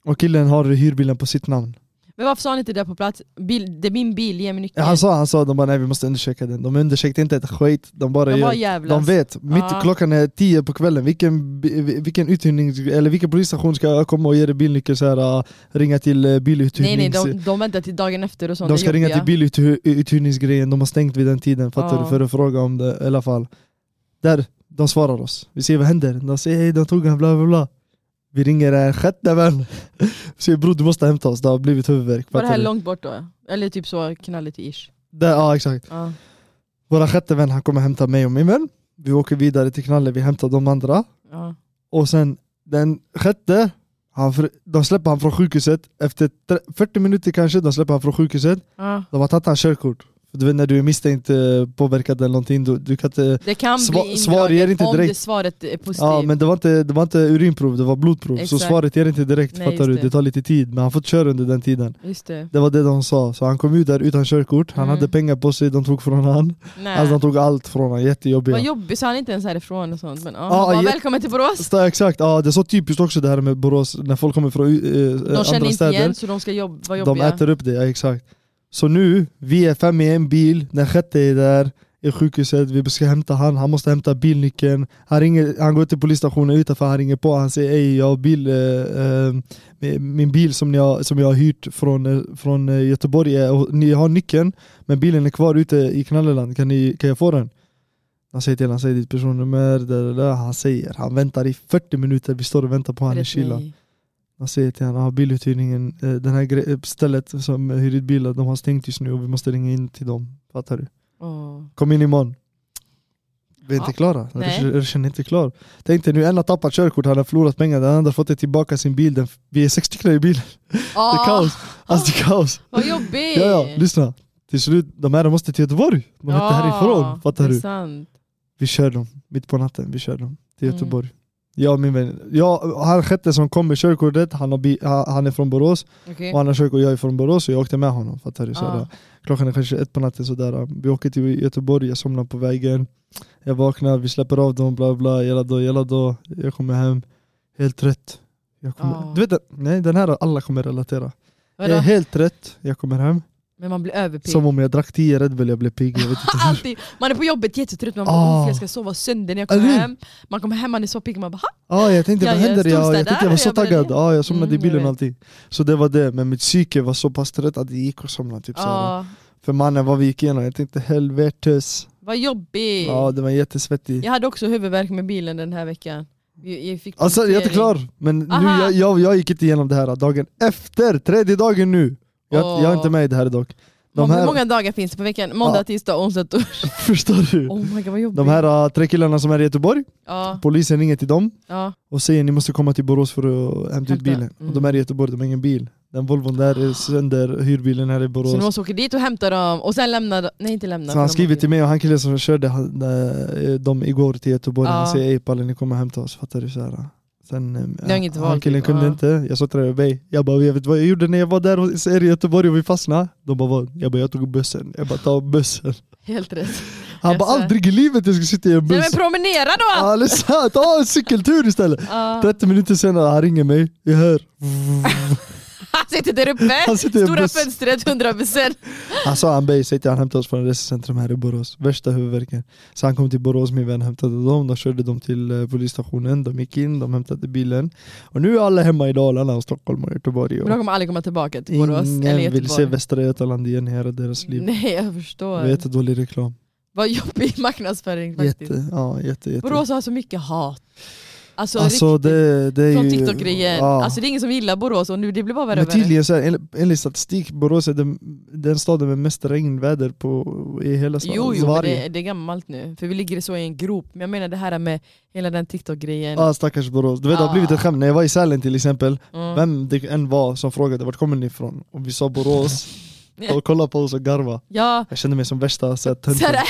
[SPEAKER 3] Och killen har hyrbilen på sitt namn.
[SPEAKER 2] Men varför sa ni inte det där på plats? Bil, det är min bil, ge mig
[SPEAKER 3] Ja,
[SPEAKER 2] nyckeln.
[SPEAKER 3] Han sa, han sa de bara nej vi måste undersöka den. De undersökte inte ett skit, de bara
[SPEAKER 2] de
[SPEAKER 3] gör.
[SPEAKER 2] var jävla...
[SPEAKER 3] De vet, mitt
[SPEAKER 2] Ah.
[SPEAKER 3] klockan är tio på kvällen, vilken, bi- vilken uthyrning, eller vilken polisstation ska jag komma och ge dig bilnyckeln så här, eh, ringa till eh,
[SPEAKER 2] Nej
[SPEAKER 3] biluthyrnings...
[SPEAKER 2] nej, de, de väntar till dagen efter och sånt.
[SPEAKER 3] De
[SPEAKER 2] det
[SPEAKER 3] ska
[SPEAKER 2] är
[SPEAKER 3] ringa till
[SPEAKER 2] jobbiga.
[SPEAKER 3] biluthyrningsgrejen, de har stängt vid den tiden fattar
[SPEAKER 2] Ja.
[SPEAKER 3] du? För att fråga om det i alla fall. Där, de svarar oss. Vi ser vad händer. De säger hej, de tog han, bla bla bla. Vi ringer en sjätte vän. [laughs] Vi säger bror du måste hämta oss, det har blivit huvudvärk.
[SPEAKER 2] Var det
[SPEAKER 3] fattar
[SPEAKER 2] här
[SPEAKER 3] du?
[SPEAKER 2] långt bort då? Eller typ så knalligt ish.
[SPEAKER 3] Där, ja exakt.
[SPEAKER 2] Ja.
[SPEAKER 3] Våra sjätte vän han kommer hämta mig och min vän. Vi åker vidare till Knalle, vi hämtar de andra.
[SPEAKER 2] Ja.
[SPEAKER 3] Och sen den sjätte, han, fr- de släpper han från sjukhuset. Efter tre- 40 minuter kanske, de släpper han från sjukhuset.
[SPEAKER 2] Ja.
[SPEAKER 3] De har tagit hans körkort. För Du vet när du är misstänkt eh, påverkad eller någonting, du, du kan inte...
[SPEAKER 2] Det kan
[SPEAKER 3] Sva-
[SPEAKER 2] bli
[SPEAKER 3] svar ger
[SPEAKER 2] indraget
[SPEAKER 3] inte
[SPEAKER 2] om
[SPEAKER 3] direkt.
[SPEAKER 2] det svaret är positivt.
[SPEAKER 3] Ja men det var inte, det var inte urinprov, det var blodprov. Så
[SPEAKER 2] Exakt.
[SPEAKER 3] svaret ger inte direkt,
[SPEAKER 2] Nej,
[SPEAKER 3] fattar
[SPEAKER 2] just
[SPEAKER 3] du?
[SPEAKER 2] det.
[SPEAKER 3] Det tar lite tid, men han har fått köra under den tiden.
[SPEAKER 2] Just det.
[SPEAKER 3] Det var det de sa, så han kom ut där utan körkort, han
[SPEAKER 2] Mm.
[SPEAKER 3] hade pengar på sig, de tog från han.
[SPEAKER 2] Nej.
[SPEAKER 3] Alltså de tog allt från han, jättejobbiga.
[SPEAKER 2] Vad jobbigt, så han är inte ens härifrån och sånt. Men, ja.
[SPEAKER 3] Ja,
[SPEAKER 2] han bara,
[SPEAKER 3] ja.
[SPEAKER 2] Välkommen till Borås!
[SPEAKER 3] Så, exakt, ja det är så typiskt också det här med Borås, när folk kommer från eh,
[SPEAKER 2] De
[SPEAKER 3] andra
[SPEAKER 2] känner inte
[SPEAKER 3] städer.
[SPEAKER 2] igen så de ska jobb- vara
[SPEAKER 3] De
[SPEAKER 2] jobbiga.
[SPEAKER 3] äter upp det, ja, exakt. Så nu, vi är fem i en bil, den sjätte är där i sjukhuset, vi ska hämta han, han måste hämta bilnyckeln. Han, ringer, han går till polisstationen utanför, han ringer på, han säger ey jag har bil, eh, eh, mi- min bil som, ni har, som jag har hyrt från, eh, från eh, Göteborg, eh, och ni har nyckeln men bilen är kvar ute i Knalleland, kan, ni, kan jag få den? Han säger till han säger ditt personnummer, där, där, där. han säger, han väntar i 40 minuter, vi står och väntar på honom i
[SPEAKER 2] Rätt
[SPEAKER 3] kylan.
[SPEAKER 2] nej.
[SPEAKER 3] Jag säger till honom, ah, biluthyrningen, eh, den här gre- stället som hyr ut bilar, de har stängt just nu och vi måste ringa in till dem. Fattar du?
[SPEAKER 2] Åh.
[SPEAKER 3] Kom in imorgon. Vi är inte
[SPEAKER 2] Ja.
[SPEAKER 3] klara,
[SPEAKER 2] Nej.
[SPEAKER 3] ruschen är inte klar. Tänk dig nu, en har tappat körkort, han har förlorat pengar, den andra har fått tillbaka sin bil, den, vi är sex stycken i bilen. Det är
[SPEAKER 2] Ah,
[SPEAKER 3] kaos. Alltså det är kaos.
[SPEAKER 2] Vad jobbigt!
[SPEAKER 3] Ja, ja, lyssna. Till slut, de här måste till Göteborg. De är
[SPEAKER 2] Ja,
[SPEAKER 3] inte härifrån, fattar
[SPEAKER 2] det är
[SPEAKER 3] du?
[SPEAKER 2] Sant.
[SPEAKER 3] Vi kör dem, mitt på natten, vi kör dem till
[SPEAKER 2] Mm.
[SPEAKER 3] Göteborg. Jag och min vän, jag, han sjätte som kom med körkortet, han, har bi, ha- han är från Borås
[SPEAKER 2] Okej.
[SPEAKER 3] och han har körkort, jag är från Borås så jag åkte med honom fattar du? Så
[SPEAKER 2] Ah.
[SPEAKER 3] där, klockan är kanske ett på natten sådär, vi åker till Göteborg, jag somnar på vägen Jag vaknar, vi släpper av dem, bla bla, jalla då, jalla då Jag kommer hem, helt trött jag kommer,
[SPEAKER 2] Ah.
[SPEAKER 3] Du vet, den- nej den här alla kommer relatera Jag är
[SPEAKER 2] Vadå?
[SPEAKER 3] helt trött, jag kommer hem
[SPEAKER 2] Men man blir överpigg.
[SPEAKER 3] Som om jag drack 10 Red Bull, jag blev pigg, jag vet
[SPEAKER 2] [laughs]
[SPEAKER 3] inte hur
[SPEAKER 2] Alltid. Man är på jobbet jättetrött, man
[SPEAKER 3] Ah.
[SPEAKER 2] bara oh. jag ska sova sönder när jag
[SPEAKER 3] Eller
[SPEAKER 2] kommer
[SPEAKER 3] hur?
[SPEAKER 2] hem. Man kommer hem, man är så pigg, man bara "Ha?"
[SPEAKER 3] Ja, jag tänkte
[SPEAKER 2] Ja,
[SPEAKER 3] vad
[SPEAKER 2] jag
[SPEAKER 3] händer?
[SPEAKER 2] stod
[SPEAKER 3] Jag,
[SPEAKER 2] där
[SPEAKER 3] jag tänkte jag var så
[SPEAKER 2] och jag
[SPEAKER 3] taggad, ja, jag somnade
[SPEAKER 2] Mm,
[SPEAKER 3] i
[SPEAKER 2] jag
[SPEAKER 3] bilen
[SPEAKER 2] vet.
[SPEAKER 3] alltid Så det var det, men mitt psyke var så pass trött att det gick att somna typ såhär.
[SPEAKER 2] ja.
[SPEAKER 3] För mannen vad vi gick igenom, jag tänkte helvetes
[SPEAKER 2] Vad jobbigt.
[SPEAKER 3] Ja det var jättesvettigt
[SPEAKER 2] Jag hade också huvudvärk med bilen den här veckan. Jag, jag fick
[SPEAKER 3] Alltså jag är inte
[SPEAKER 2] punktering.
[SPEAKER 3] klar, men nu,
[SPEAKER 2] Aha.
[SPEAKER 3] jag, jag, jag gick inte igenom det här dagen efter, tredje dagen nu Jag, jag är inte
[SPEAKER 2] Åh.
[SPEAKER 3] med i det här dock
[SPEAKER 2] Mång-
[SPEAKER 3] De
[SPEAKER 2] Hur
[SPEAKER 3] här,
[SPEAKER 2] många dagar finns det på veckan? Måndag,
[SPEAKER 3] Ja.
[SPEAKER 2] tisdag, onsdag, torsdag.
[SPEAKER 3] [laughs] förstår du?
[SPEAKER 2] Oh my god vad jobbigt.
[SPEAKER 3] De här äh, tre killarna som är i Göteborg,
[SPEAKER 2] ja,
[SPEAKER 3] polisen ringer till dem
[SPEAKER 2] ja.
[SPEAKER 3] och säger ni måste komma till Borås för att hämta ut
[SPEAKER 2] Hämta,
[SPEAKER 3] bilen
[SPEAKER 2] mm. Ah.
[SPEAKER 3] Och de är i Göteborg, de har ingen bil Den Volvon där är sönder, hyrbilen här i Borås
[SPEAKER 2] Så du måste åka dit och hämta dem och sen lämna dem. Nej inte lämna.
[SPEAKER 3] Så han skriver till mig och han killen som körde han, eh, dem igår till Göteborg, han
[SPEAKER 2] Ja.
[SPEAKER 3] säger ey pallen ni kommer hämta oss, fattar du? Så här. Sen, eh,
[SPEAKER 2] har inget
[SPEAKER 3] han
[SPEAKER 2] val,
[SPEAKER 3] killen
[SPEAKER 2] typ.
[SPEAKER 3] kunde
[SPEAKER 2] Ja.
[SPEAKER 3] inte, jag sa till dig, "Bey." jag bara jag vet vad jag gjorde när jag var där hos er i Göteborg och vi fastnade De bara vad? Jag bara jag tog bussen, jag bara ta bussen
[SPEAKER 2] Helt
[SPEAKER 3] [laughs]
[SPEAKER 2] rätt.
[SPEAKER 3] Han
[SPEAKER 2] Jag
[SPEAKER 3] bara
[SPEAKER 2] ser.
[SPEAKER 3] aldrig i livet jag ska sitta i en
[SPEAKER 2] Nej
[SPEAKER 3] buss
[SPEAKER 2] men promenera då!
[SPEAKER 3] Ja, det är sant. ta en cykeltur istället!
[SPEAKER 2] Ja. [laughs]
[SPEAKER 3] [laughs] 30 minuter senare, han ringer mig, jag hör
[SPEAKER 2] Han sitter där uppe,
[SPEAKER 3] Han sitter i en
[SPEAKER 2] stora
[SPEAKER 3] buss
[SPEAKER 2] fönstret 100%.
[SPEAKER 3] Han sa Alltså, han bey, säg till han hämtade oss från resecentrum här i Borås, värsta huvudvärken Så han kom till Borås, min vän hämtade dem, de körde dem till eh, polisstationen, de gick in, de hämtade bilen Och nu är alla hemma i Dalarna, och Stockholm och Göteborg
[SPEAKER 2] Men de
[SPEAKER 3] och
[SPEAKER 2] kommer aldrig komma tillbaka till Borås eller
[SPEAKER 3] Ingen vill se
[SPEAKER 2] Göteborg.
[SPEAKER 3] Västra Götaland igen i hela deras liv
[SPEAKER 2] Nej jag
[SPEAKER 3] Det
[SPEAKER 2] förstår.
[SPEAKER 3] var jättedålig reklam,
[SPEAKER 2] Vad jobbig [laughs] marknadsföring faktiskt.
[SPEAKER 3] jätte, ja, jätte, jätte.
[SPEAKER 2] Borås har så mycket hat. Alltså,
[SPEAKER 3] Alltså
[SPEAKER 2] riktigt,
[SPEAKER 3] det, det är
[SPEAKER 2] från
[SPEAKER 3] ju...
[SPEAKER 2] TikTok-grejen.
[SPEAKER 3] ja.
[SPEAKER 2] Alltså det är ingen som gillar Borås och nu det blir bara värre
[SPEAKER 3] Men
[SPEAKER 2] och värre.
[SPEAKER 3] tydligen, så här, enligt, enligt statistik, Borås är den, den staden med mest regnväder på, i hela Sverige
[SPEAKER 2] Jo, jo men det, det är gammalt nu. För vi ligger så i en grop. Men jag menar det här med hela den TikTok-grejen.
[SPEAKER 3] Ja ah, stackars Borås, du vet det har
[SPEAKER 2] Ah.
[SPEAKER 3] blivit ett skämt, när jag var i Sälen till exempel
[SPEAKER 2] Mm.
[SPEAKER 3] Vem det än var som frågade vart kommer ni ifrån? Och vi
[SPEAKER 2] [laughs]
[SPEAKER 3] sa Borås Och kolla på oss och garva
[SPEAKER 2] Ja,
[SPEAKER 3] Jag kände mig som värsta så här, tönten
[SPEAKER 2] [laughs] såhär,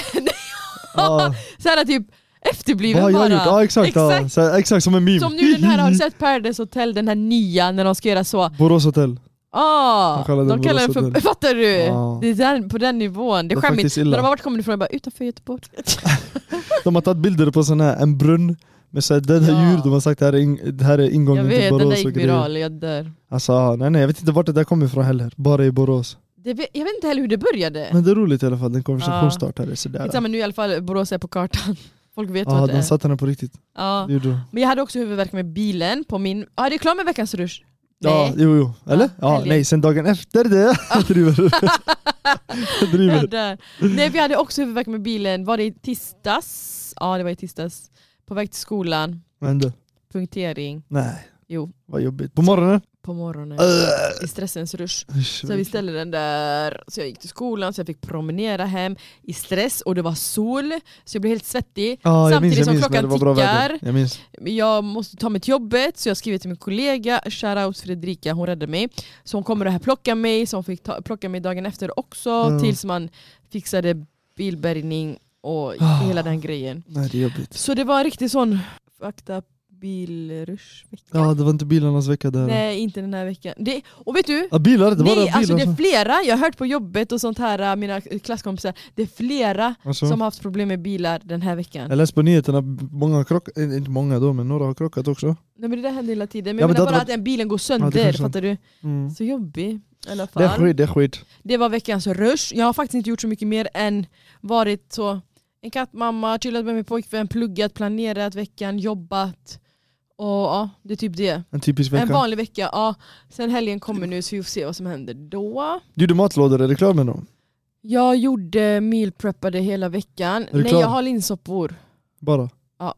[SPEAKER 3] ah,
[SPEAKER 2] såhär typ efterbliven
[SPEAKER 3] Vad har jag
[SPEAKER 2] bara.
[SPEAKER 3] gjort? Ja ah, exakt, exakt. Ah,
[SPEAKER 2] Exakt.
[SPEAKER 3] så här, exakt som en meme
[SPEAKER 2] Som nu den här, har du sett Paradise Hotel, den här nya när de ska göra så?
[SPEAKER 3] [laughs] Borås hotell
[SPEAKER 2] Ah,
[SPEAKER 3] De kallar den
[SPEAKER 2] de kallar den
[SPEAKER 3] Borås
[SPEAKER 2] för... [laughs]
[SPEAKER 3] Hotel.
[SPEAKER 2] Fattar du?
[SPEAKER 3] Ja.
[SPEAKER 2] Det är där, på den nivån, det är
[SPEAKER 3] Det är faktiskt
[SPEAKER 2] skämmigt.
[SPEAKER 3] illa.
[SPEAKER 2] När de har varit kommer ifrån, jag bara utanför Göteborg.
[SPEAKER 3] De har tagit bilder på sån här, en brunn med så här döda
[SPEAKER 2] Ja.
[SPEAKER 3] djur, de har sagt det här är, ing- det här är
[SPEAKER 2] Jag
[SPEAKER 3] ingången till
[SPEAKER 2] vet, den där
[SPEAKER 3] Borås och
[SPEAKER 2] gick
[SPEAKER 3] grejer
[SPEAKER 2] viral, jag dör.
[SPEAKER 3] Alltså ah, nej nej jag vet inte vart det där kommer ifrån heller, bara i Borås
[SPEAKER 2] Det, vet- jag vet inte heller hur det började.
[SPEAKER 3] Men det är roligt i alla fall, den konversationsstart här är sådär
[SPEAKER 2] Skitsamma, nu i alla fall Borås är på kartan. [laughs] Folk vet
[SPEAKER 3] Ja ah,
[SPEAKER 2] vad det
[SPEAKER 3] de
[SPEAKER 2] är.
[SPEAKER 3] satte den på riktigt,
[SPEAKER 2] Ja.
[SPEAKER 3] det gjorde de
[SPEAKER 2] Men jag hade också huvudvärk med bilen på min... Ja, ah, det är klart med veckans rush.
[SPEAKER 3] Ja,
[SPEAKER 2] Nej.
[SPEAKER 3] jo, jo. Eller?
[SPEAKER 2] Ja,
[SPEAKER 3] Ja,
[SPEAKER 2] helgen.
[SPEAKER 3] nej, sen dagen
[SPEAKER 2] [laughs]
[SPEAKER 3] efter det [laughs] driver Jag
[SPEAKER 2] Jag
[SPEAKER 3] driver.
[SPEAKER 2] dör. Nej, vi hade också huvudvärk med bilen. Var det i tisdags? Ja, det var i tisdags. På väg till skolan.
[SPEAKER 3] Men du,
[SPEAKER 2] Punktering.
[SPEAKER 3] nej.
[SPEAKER 2] Jo.
[SPEAKER 3] Vad jobbigt. På morgonen?
[SPEAKER 2] På morgonen.
[SPEAKER 3] Äh,
[SPEAKER 2] I stressens rush.
[SPEAKER 3] usch,
[SPEAKER 2] Så vi ställde den där. Så jag gick till skolan, så jag fick promenera hem i stress och det var sol. Så jag blev helt svettig.
[SPEAKER 3] Ja, jag minns,
[SPEAKER 2] samtidigt
[SPEAKER 3] jag
[SPEAKER 2] som
[SPEAKER 3] minns när
[SPEAKER 2] klockan
[SPEAKER 3] det var bra väder.
[SPEAKER 2] tickar.
[SPEAKER 3] Jag minns.
[SPEAKER 2] jag måste ta mig till jobbet så jag skriver till min kollega, shoutout Fredrika, hon räddade mig. Så hon kommer och här plocka mig, så hon fick ta, plocka mig dagen efter också
[SPEAKER 3] Ja.
[SPEAKER 2] tills man fixade bilbärgning och
[SPEAKER 3] Ah.
[SPEAKER 2] hela den grejen.
[SPEAKER 3] Nej, det är jobbigt.
[SPEAKER 2] Så det var en riktig sån fakta bilrush
[SPEAKER 3] Ja, det var inte bilarnas vecka där.
[SPEAKER 2] Nej inte den här veckan. Det, och vet du?
[SPEAKER 3] Ja, bilar? Det var
[SPEAKER 2] Nej,
[SPEAKER 3] bara
[SPEAKER 2] alltså
[SPEAKER 3] bilar.
[SPEAKER 2] det är
[SPEAKER 3] som-
[SPEAKER 2] flera, jag har hört på jobbet och sånt här, äh, mina klasskompisar, det är flera
[SPEAKER 3] Alltså,
[SPEAKER 2] som har haft problem med bilar den här veckan.
[SPEAKER 3] jag läste på nyheterna, många har krockat, eh, inte många då, men några har krockat också.
[SPEAKER 2] Nej men det där händer hela tiden, men
[SPEAKER 3] Ja,
[SPEAKER 2] jag
[SPEAKER 3] men
[SPEAKER 2] menar
[SPEAKER 3] det
[SPEAKER 2] bara
[SPEAKER 3] hade
[SPEAKER 2] att den bilen går
[SPEAKER 3] det
[SPEAKER 2] sönder,
[SPEAKER 3] kanske-
[SPEAKER 2] fattar du?
[SPEAKER 3] Mm.
[SPEAKER 2] Så jobbig i alla fall.
[SPEAKER 3] Det är skit, det är skit.
[SPEAKER 2] Det var veckans rush. Jag har faktiskt inte gjort så mycket mer än varit så en kattmamma, chillat med min pojkvän, pluggat, planerat veckan, jobbat. Och ja, det är typ det.
[SPEAKER 3] En typisk
[SPEAKER 2] En
[SPEAKER 3] vecka.
[SPEAKER 2] vanlig vecka. Ja. Sen helgen kommer nu så vi får se vad som händer då.
[SPEAKER 3] Du gjorde matlådor, är du klar med dem?
[SPEAKER 2] Jag gjorde mealpreppade hela veckan.
[SPEAKER 3] du
[SPEAKER 2] Nej
[SPEAKER 3] klar?
[SPEAKER 2] jag har linssoppor
[SPEAKER 3] Bara?
[SPEAKER 2] Ja.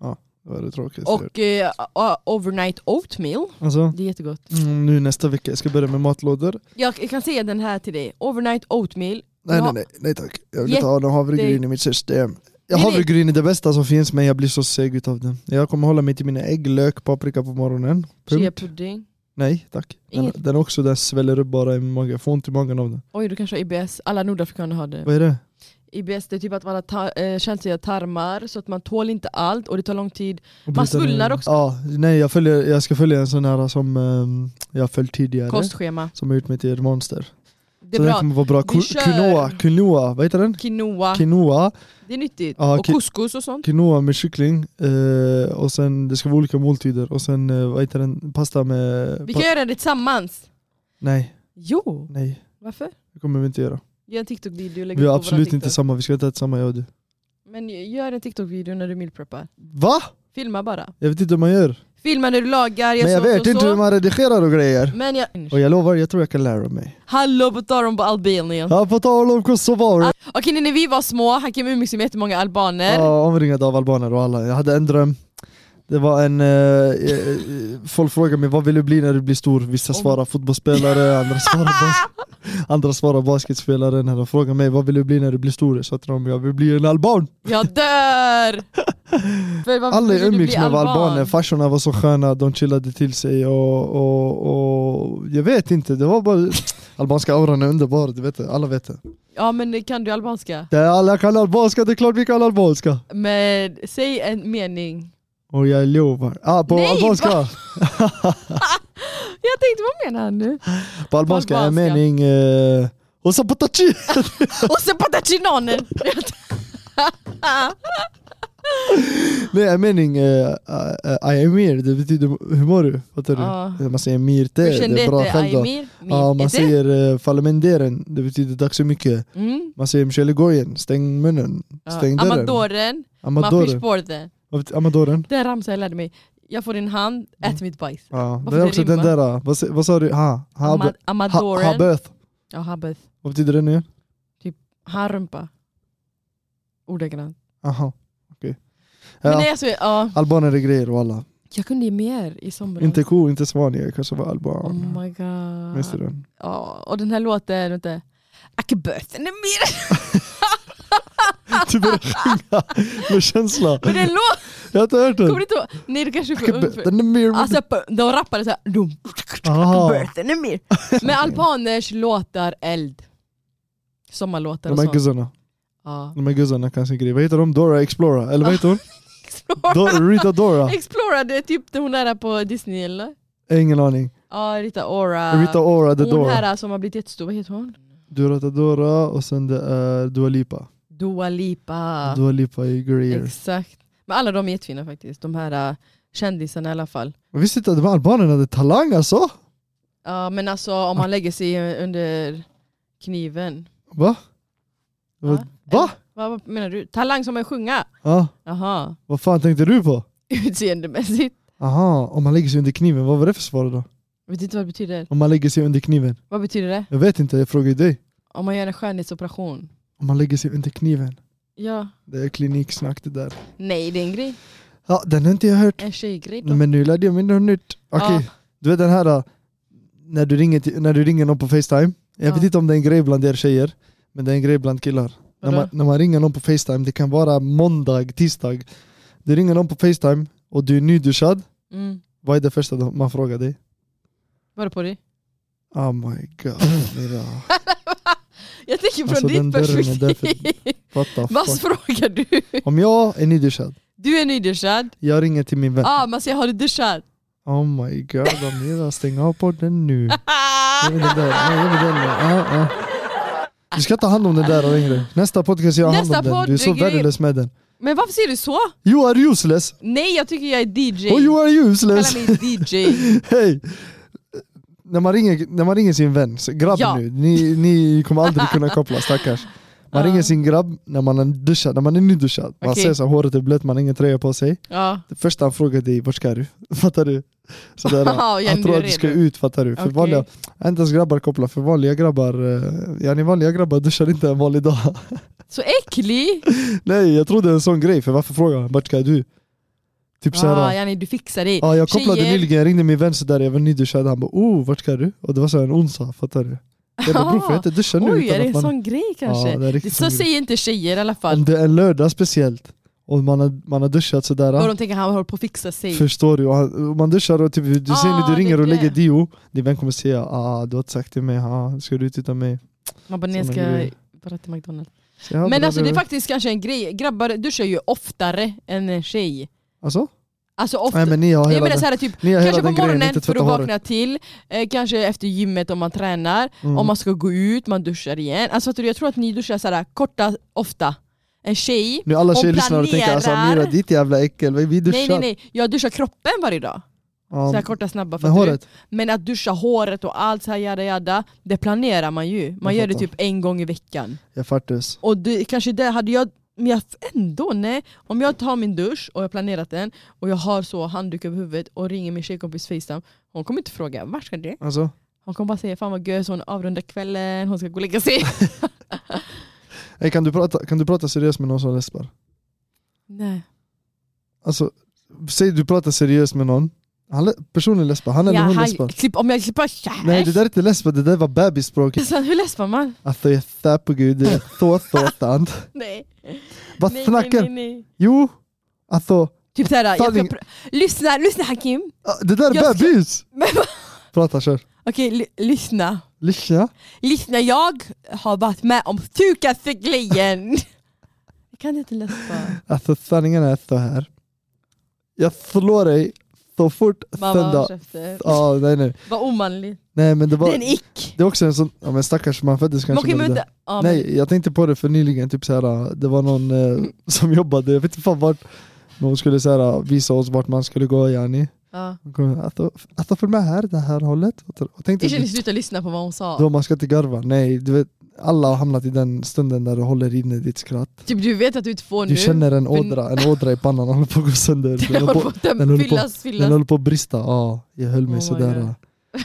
[SPEAKER 3] Ja, det var det tråkigaste. jag gjort.
[SPEAKER 2] och eh, o- overnight oatmeal.
[SPEAKER 3] Alltså,
[SPEAKER 2] Det är jättegott.
[SPEAKER 3] mm, nu nästa vecka, jag ska börja med matlådor.
[SPEAKER 2] Jag kan säga den här till dig. Overnight oatmeal.
[SPEAKER 3] Nej,
[SPEAKER 2] Ja.
[SPEAKER 3] nej, nej, nej tack. Jag vill inte ha någon havregryn i mitt system. Jag
[SPEAKER 2] Nej, nej.
[SPEAKER 3] havregryn är det bästa som finns men jag blir så seg utav det. Jag kommer hålla mig till mina ägg, lök, paprika på morgonen. Punkt.
[SPEAKER 2] Chia-pudding.
[SPEAKER 3] Nej tack. Den,
[SPEAKER 2] Inget.
[SPEAKER 3] den också, den sväller upp bara i magen, jag får ont i magen av den.
[SPEAKER 2] Oj, du kanske har IBS. Alla nordafrikaner har det.
[SPEAKER 3] Vad är det?
[SPEAKER 2] IBS det är typ att man har ta- eh, känsliga tarmar så att man tål inte allt och det tar lång tid. Man svullnar också.
[SPEAKER 3] Ja, nej jag, följer, jag ska följa en sån här som ehm, jag följt tidigare.
[SPEAKER 2] Kostschema.
[SPEAKER 3] Som har gjort mig till ett monster.
[SPEAKER 2] Det är
[SPEAKER 3] så den
[SPEAKER 2] bra.
[SPEAKER 3] kommer vara bra.
[SPEAKER 2] Vi
[SPEAKER 3] Ku-
[SPEAKER 2] kör.
[SPEAKER 3] Quinoa, quinoa, vad heter den?
[SPEAKER 2] Quinoa,
[SPEAKER 3] Quinoa,
[SPEAKER 2] det är nyttigt.
[SPEAKER 3] Ja,
[SPEAKER 2] och
[SPEAKER 3] ki-
[SPEAKER 2] couscous och sånt.
[SPEAKER 3] quinoa med kyckling eh, och sen det ska vara olika måltider och sen eh, vad heter den? Pasta med...
[SPEAKER 2] Vi
[SPEAKER 3] pa-
[SPEAKER 2] kan göra det tillsammans.
[SPEAKER 3] nej,
[SPEAKER 2] Jo,
[SPEAKER 3] nej.
[SPEAKER 2] varför?
[SPEAKER 3] Det kommer vi inte göra.
[SPEAKER 2] Gör en TikTok-video och lägg
[SPEAKER 3] Vi
[SPEAKER 2] ut på
[SPEAKER 3] har
[SPEAKER 2] våran
[SPEAKER 3] absolut
[SPEAKER 2] TikTok.
[SPEAKER 3] inte samma, vi ska inte äta samma jag och du.
[SPEAKER 2] Men gör en TikTok-video när du mealpreppar.
[SPEAKER 3] Va?
[SPEAKER 2] Filma bara.
[SPEAKER 3] Jag vet inte hur man gör.
[SPEAKER 2] Filma när du lagar, jag
[SPEAKER 3] Men jag
[SPEAKER 2] så och
[SPEAKER 3] vet inte
[SPEAKER 2] så.
[SPEAKER 3] hur man redigerar och grejer.
[SPEAKER 2] Men jag...
[SPEAKER 3] Och jag lovar, jag tror jag kan lära mig.
[SPEAKER 2] Hallå på tal om Albanien.
[SPEAKER 3] Ja, på tal om Kosovo,
[SPEAKER 2] Okej när vi var små, Hakim umgicks med jättemånga albaner.
[SPEAKER 3] ja, omringad av albaner och alla. Jag hade en dröm. Det var en... eh, eh, folk frågade mig vad vill du bli när du blir stor? Vissa
[SPEAKER 2] Om-
[SPEAKER 3] svarar fotbollsspelare,
[SPEAKER 2] [laughs]
[SPEAKER 3] andra svarar, bas- andra svarar basketspelare. När de frågar mig vad vill du bli när du blir stor? Jag sa till dem jag vill bli en alban.
[SPEAKER 2] Jag
[SPEAKER 3] [laughs]
[SPEAKER 2] dör! För varför
[SPEAKER 3] Alla
[SPEAKER 2] vill du
[SPEAKER 3] umgicks
[SPEAKER 2] bli
[SPEAKER 3] med
[SPEAKER 2] alban?
[SPEAKER 3] albaner, farsorna var så sköna, de chillade till sig och, och, och jag vet inte, det var bara... Albanska auran är underbar, du vet det, alla vet det.
[SPEAKER 2] Ja men kan du albanska?
[SPEAKER 3] det är alla kan albanska, det är klart vi kan albanska!
[SPEAKER 2] Men säg en mening.
[SPEAKER 3] Och jag lovar, ah, på
[SPEAKER 2] Nej,
[SPEAKER 3] albanska!
[SPEAKER 2] Jag tänkte vad menar han nu?
[SPEAKER 3] På albanska, en
[SPEAKER 2] albanska.
[SPEAKER 3] mening... Eh, och så potachi!
[SPEAKER 2] [laughs] Och sen patachinonen!
[SPEAKER 3] [laughs] Nej en mening, eh, eh, I am here, det betyder hur mår du? Fattar du?
[SPEAKER 2] Ja.
[SPEAKER 3] Man säger mir te,
[SPEAKER 2] Hur
[SPEAKER 3] det
[SPEAKER 2] kände
[SPEAKER 3] är bra
[SPEAKER 2] det?
[SPEAKER 3] själv då.
[SPEAKER 2] Aymir? Min-
[SPEAKER 3] Ja, man
[SPEAKER 2] Ete?
[SPEAKER 3] säger eh, falamenderen, det betyder tack så mycket.
[SPEAKER 2] Mm.
[SPEAKER 3] Man säger mkelegoyen, stäng munnen,
[SPEAKER 2] Ja.
[SPEAKER 3] stäng dörren.
[SPEAKER 2] Amadoren,
[SPEAKER 3] Amadoren.
[SPEAKER 2] maffisporten.
[SPEAKER 3] Vad vet- Amadoren?
[SPEAKER 2] Den ramsan jag lärde mig. Jag får din hand,
[SPEAKER 3] Mm.
[SPEAKER 2] ät mitt bajs.
[SPEAKER 3] Ja,
[SPEAKER 2] Varför
[SPEAKER 3] det är
[SPEAKER 2] det
[SPEAKER 3] också den
[SPEAKER 2] rimmar?
[SPEAKER 3] där, ah, vad, sa- vad sa du? Ha, ha,
[SPEAKER 2] Ama-
[SPEAKER 3] ha,
[SPEAKER 2] Amadoren.
[SPEAKER 3] haböth.
[SPEAKER 2] Ja, habeth.
[SPEAKER 3] Vad betyder det nu igen?
[SPEAKER 2] Harumpa. Ordagrant.
[SPEAKER 3] Aha, okej.
[SPEAKER 2] Men
[SPEAKER 3] Ja,
[SPEAKER 2] nej, alltså, ja.
[SPEAKER 3] albaner är grejer och alla.
[SPEAKER 2] Jag kunde ge mer i somras.
[SPEAKER 3] Inte ko, inte svan, jag kanske var
[SPEAKER 2] Oh
[SPEAKER 3] alban.
[SPEAKER 2] my
[SPEAKER 3] Minns du
[SPEAKER 2] god.
[SPEAKER 3] den?
[SPEAKER 2] Ja, och den här låten, vänta. Akböten är
[SPEAKER 3] [laughs]
[SPEAKER 2] mer... [laughs]
[SPEAKER 3] Du börjar sjunga med känsla.
[SPEAKER 2] Men den låten,
[SPEAKER 3] Jag har inte hört den.
[SPEAKER 2] kommer du inte ihåg? Nej du kanske är för ung för...
[SPEAKER 3] Den är mer...
[SPEAKER 2] Alltså på- de rappade såhär... dum,
[SPEAKER 3] Aha.
[SPEAKER 2] Akböten är
[SPEAKER 3] [laughs]
[SPEAKER 2] mer... Men albaners låtar eld. Sommarlåtar
[SPEAKER 3] De
[SPEAKER 2] och
[SPEAKER 3] här
[SPEAKER 2] sånt.
[SPEAKER 3] guzzarna,
[SPEAKER 2] Ja.
[SPEAKER 3] de här guzzarna kan sin grej. Vad heter de? Dora Explora? Eller
[SPEAKER 2] [laughs]
[SPEAKER 3] vad heter hon?
[SPEAKER 2] Explora,
[SPEAKER 3] Do- Rita Dora?
[SPEAKER 2] Explora, det är typ hon där på Disney eller?
[SPEAKER 3] Ingen aning.
[SPEAKER 2] Ja, Rita Ora.
[SPEAKER 3] Rita Ora the
[SPEAKER 2] Ah, hon
[SPEAKER 3] Dora.
[SPEAKER 2] här som har blivit jättestor, vad heter hon?
[SPEAKER 3] Durata Dora och sen det är Dua Lipa.
[SPEAKER 2] Dua Lipa.
[SPEAKER 3] Dua Lipa är grejer.
[SPEAKER 2] Exakt. Men alla de är jättefina faktiskt, de här äh, kändisarna i alla fall.
[SPEAKER 3] Jag visste inte att de här albanerna hade talang alltså.
[SPEAKER 2] Ja men alltså om
[SPEAKER 3] Ah.
[SPEAKER 2] man lägger sig eh, under kniven.
[SPEAKER 3] Va? Det var-
[SPEAKER 2] Ja.
[SPEAKER 3] Va?
[SPEAKER 2] Vad, vad menar du? Talang som är sjunga?
[SPEAKER 3] Ja,
[SPEAKER 2] Jaha,
[SPEAKER 3] vad fan tänkte du på?
[SPEAKER 2] [laughs] utseendemässigt.
[SPEAKER 3] Aha, om man lägger sig under kniven, vad var det för svar då?
[SPEAKER 2] Jag vet inte vad det betyder.
[SPEAKER 3] Om man lägger sig under kniven?
[SPEAKER 2] Vad betyder det?
[SPEAKER 3] Jag vet inte, jag frågar ju dig.
[SPEAKER 2] Om man gör en skönhetsoperation?
[SPEAKER 3] Om man lägger sig under kniven?
[SPEAKER 2] Ja.
[SPEAKER 3] Det är kliniksnack det där.
[SPEAKER 2] Nej det är en grej.
[SPEAKER 3] Ja, den har inte jag hört.
[SPEAKER 2] En tjejgrej då.
[SPEAKER 3] Nej, Men nu lärde jag mig något nytt. Okej,
[SPEAKER 2] Ja.
[SPEAKER 3] du vet den här då, när du ringer, till, när du ringer någon på Facetime. Jag
[SPEAKER 2] Ja.
[SPEAKER 3] vet inte om det är en grej bland er tjejer, men det är en grej bland killar. När
[SPEAKER 2] Vadå?
[SPEAKER 3] man, när man ringer någon på Facetime, det kan vara måndag, tisdag. Du ringer någon på Facetime och du är nyduschad.
[SPEAKER 2] Mm.
[SPEAKER 3] Vad är det första då man frågar dig?
[SPEAKER 2] Var det på dig?
[SPEAKER 3] Oh my god, Mira.
[SPEAKER 2] Jag tänker från
[SPEAKER 3] Alltså, den
[SPEAKER 2] ditt
[SPEAKER 3] dörren är där för-
[SPEAKER 2] perspektiv.
[SPEAKER 3] What [laughs] the
[SPEAKER 2] Vad
[SPEAKER 3] fuck?
[SPEAKER 2] frågar du?
[SPEAKER 3] Om jag är nyduschad,
[SPEAKER 2] Du är nyduschad.
[SPEAKER 3] jag ringer till min vän.
[SPEAKER 2] Ah, man säger har du duschat?
[SPEAKER 3] Oh my god, Amira, stäng av podden [laughs] nu. Jag vill den där, nej, jag vill den där. Ja, ja. Du ska ta hand om den där längre. Nästa podcast jag har hand
[SPEAKER 2] Nästa
[SPEAKER 3] om den. Du är så
[SPEAKER 2] podd, grej-
[SPEAKER 3] värdelös med den.
[SPEAKER 2] Men varför säger du så?
[SPEAKER 3] You are useless!
[SPEAKER 2] Nej jag tycker jag är DJ.
[SPEAKER 3] Oh you are useless!
[SPEAKER 2] Kalla mig DJ.
[SPEAKER 3] Hej! När man, ringer, när man ringer sin vän, så grabben
[SPEAKER 2] Ja.
[SPEAKER 3] nu, ni, ni kommer aldrig kunna koppla stackars. Man
[SPEAKER 2] Ja.
[SPEAKER 3] ringer sin grabb när man är duschad, när man är nyduschad. Man
[SPEAKER 2] Okej.
[SPEAKER 3] ser så här, håret är blött, man har ingen tröja på sig.
[SPEAKER 2] [laughs] Ja.
[SPEAKER 3] Det första han frågar dig, vart ska du? [laughs] Fattar du?
[SPEAKER 2] [laughs]
[SPEAKER 3] Sådär,
[SPEAKER 2] Ja, ja,
[SPEAKER 3] han
[SPEAKER 2] nu
[SPEAKER 3] tror
[SPEAKER 2] är
[SPEAKER 3] att du ska
[SPEAKER 2] redo.
[SPEAKER 3] ut, fattar du? För
[SPEAKER 2] Okej.
[SPEAKER 3] vanliga, inte ens grabbar kopplar, för vanliga grabbar, eh, ja, ni vanliga grabbar [laughs] duschar inte en vanlig dag. [laughs]
[SPEAKER 2] Så äcklig!
[SPEAKER 3] Typ Nej, jag trodde det är en sån grej, för varför frågar han vart ska du? Typ såhär,
[SPEAKER 2] Ah,
[SPEAKER 3] ja,
[SPEAKER 2] yani, du fixar dig.
[SPEAKER 3] jag kopplade
[SPEAKER 2] Tjejer-
[SPEAKER 3] nyligen, jag ringde min vän sådär, jag var nyduschad, han bara oh, vart ska du? Och det var så här en onsdag, fattar du? Jag bara bror, får jag inte duscha nu?
[SPEAKER 2] Oj,
[SPEAKER 3] utan
[SPEAKER 2] är det
[SPEAKER 3] att
[SPEAKER 2] en
[SPEAKER 3] man-
[SPEAKER 2] sån grej kanske?
[SPEAKER 3] Ja, det är riktigt
[SPEAKER 2] så
[SPEAKER 3] sån grej.
[SPEAKER 2] säger inte tjejer i alla fall.
[SPEAKER 3] Om det är en lördag speciellt, och man har, man har duschat sådär,
[SPEAKER 2] Och de tänker han håller på att fixa sig.
[SPEAKER 3] Förstår du? Och han- och Man duschar och typ, du ser när
[SPEAKER 2] Ah,
[SPEAKER 3] du ringer
[SPEAKER 2] det är
[SPEAKER 3] och lägger
[SPEAKER 2] det.
[SPEAKER 3] dio, din vän kommer säga ah, du har inte sagt till mig, ah, ska du ut utan mig?
[SPEAKER 2] Man bara, nej jag
[SPEAKER 3] Såna
[SPEAKER 2] ska
[SPEAKER 3] grejer.
[SPEAKER 2] bara till McDonalds.
[SPEAKER 3] Så jag
[SPEAKER 2] Men
[SPEAKER 3] drar
[SPEAKER 2] alltså det är
[SPEAKER 3] över.
[SPEAKER 2] faktiskt kanske en grej, grabbar duschar ju oftare än en tjej.
[SPEAKER 3] Alltså?
[SPEAKER 2] Alltså ofta,
[SPEAKER 3] Nej men ni har
[SPEAKER 2] jag
[SPEAKER 3] hela
[SPEAKER 2] menar
[SPEAKER 3] den,
[SPEAKER 2] såhär typ,
[SPEAKER 3] ni har hela
[SPEAKER 2] kanske på
[SPEAKER 3] den grejen,
[SPEAKER 2] morgonen
[SPEAKER 3] inte
[SPEAKER 2] för
[SPEAKER 3] tvätta
[SPEAKER 2] att
[SPEAKER 3] håret.
[SPEAKER 2] vakna till, eh, kanske efter gymmet om man tränar,
[SPEAKER 3] Mm.
[SPEAKER 2] om man ska gå ut, man duschar igen. Alltså fattar du, jag tror att ni duschar såhär korta, ofta. En tjej,
[SPEAKER 3] Nu alla
[SPEAKER 2] hon
[SPEAKER 3] tjejer lyssnar och tänker alltså
[SPEAKER 2] planerar-
[SPEAKER 3] Amira ditt jävla äckel, vi duschar.
[SPEAKER 2] nej nej nej, jag duschar kroppen varje dag.
[SPEAKER 3] Ja,
[SPEAKER 2] Så här korta snabba,
[SPEAKER 3] men
[SPEAKER 2] fattar du?
[SPEAKER 3] håret,
[SPEAKER 2] Men att duscha håret och allt så här jada jada, det planerar man ju. Man
[SPEAKER 3] Jag
[SPEAKER 2] gör det
[SPEAKER 3] fattar.
[SPEAKER 2] typ en gång i veckan.
[SPEAKER 3] jag fattas.
[SPEAKER 2] Och det, kanske det hade jag, men jag ändå nej. Om jag tar min dusch och jag har planerat den och jag har så handduk över huvudet och ringer min tjejkompis Facetime, hon kommer inte fråga vart ska du?
[SPEAKER 3] Alltså,
[SPEAKER 2] Hon kommer bara säga fan vad gött, hon avrundar kvällen, hon ska gå och lägga sig.
[SPEAKER 3] Ey, kan, du prata, kan du prata seriöst med någon som läspar?
[SPEAKER 2] [laughs] nej.
[SPEAKER 3] Alltså, säg du pratar seriöst med någon, han, lä- personen läspar, han eller
[SPEAKER 2] Ja,
[SPEAKER 3] hon
[SPEAKER 2] han-
[SPEAKER 3] läspar.
[SPEAKER 2] klipp, om jag klipper så här.
[SPEAKER 3] Nej det där är inte läspar, det där var bebisspråk.
[SPEAKER 2] Sen, hur läspar man?
[SPEAKER 3] Alltså jag svär på gud, det är så sådant.
[SPEAKER 2] Nej.
[SPEAKER 3] Vad
[SPEAKER 2] nej,
[SPEAKER 3] snackar
[SPEAKER 2] nej, nej, nej.
[SPEAKER 3] Jo, alltså
[SPEAKER 2] Typ såhär, jag ska
[SPEAKER 3] Sanning.
[SPEAKER 2] pr- lyssna, lyssna Hakim.
[SPEAKER 3] ah, det där
[SPEAKER 2] Jag
[SPEAKER 3] är
[SPEAKER 2] ska-
[SPEAKER 3] bebis!
[SPEAKER 2] [laughs] Men vad-
[SPEAKER 3] Prata, kör.
[SPEAKER 2] Okej, ly- lyssna.
[SPEAKER 3] Lyssna.
[SPEAKER 2] Lyssna, jag har varit med om sjukaste grejen. [laughs] Jag kan inte läspa.
[SPEAKER 3] Alltså sanningen är så här. Jag slår dig så fort
[SPEAKER 2] Mamma, håll
[SPEAKER 3] söndag...
[SPEAKER 2] käften.
[SPEAKER 3] Ja, nej, nej.
[SPEAKER 2] Vad omanlig.
[SPEAKER 3] nej men det
[SPEAKER 2] Det
[SPEAKER 3] var...
[SPEAKER 2] är en ick.
[SPEAKER 3] Det är också en sån, ja men stackars man föddes
[SPEAKER 2] Men
[SPEAKER 3] kanske
[SPEAKER 2] okej,
[SPEAKER 3] med
[SPEAKER 2] men
[SPEAKER 3] det där.
[SPEAKER 2] vänta. Ja, men- Mm.
[SPEAKER 3] Nej jag tänkte på det för nyligen, typ såhär, det var någon eh, som jobbade, jag vet inte fan vart men hon skulle såhär, visa oss vart man skulle gå yani.
[SPEAKER 2] ja.
[SPEAKER 3] Hon kom, Alltså alltså, följ med här, det här hållet. Och tänkte,
[SPEAKER 2] Jag känner sluta lyssna på vad hon sa.
[SPEAKER 3] då man ska inte garva, nej du vet alla har hamnat i den stunden där du håller inne ditt skratt.
[SPEAKER 2] Typ du vet att du inte får nu.
[SPEAKER 3] Du
[SPEAKER 2] [laughs]
[SPEAKER 3] känner en
[SPEAKER 2] för-
[SPEAKER 3] ådra, en ådra i pannan, håller på att gå
[SPEAKER 2] [laughs]
[SPEAKER 3] sönder.
[SPEAKER 2] den håller på
[SPEAKER 3] den
[SPEAKER 2] att
[SPEAKER 3] håller på-
[SPEAKER 2] fyllas,
[SPEAKER 3] den
[SPEAKER 2] fyllas.
[SPEAKER 3] håller på att brista, ja jag höll mig
[SPEAKER 2] Oh my God.
[SPEAKER 3] sådär.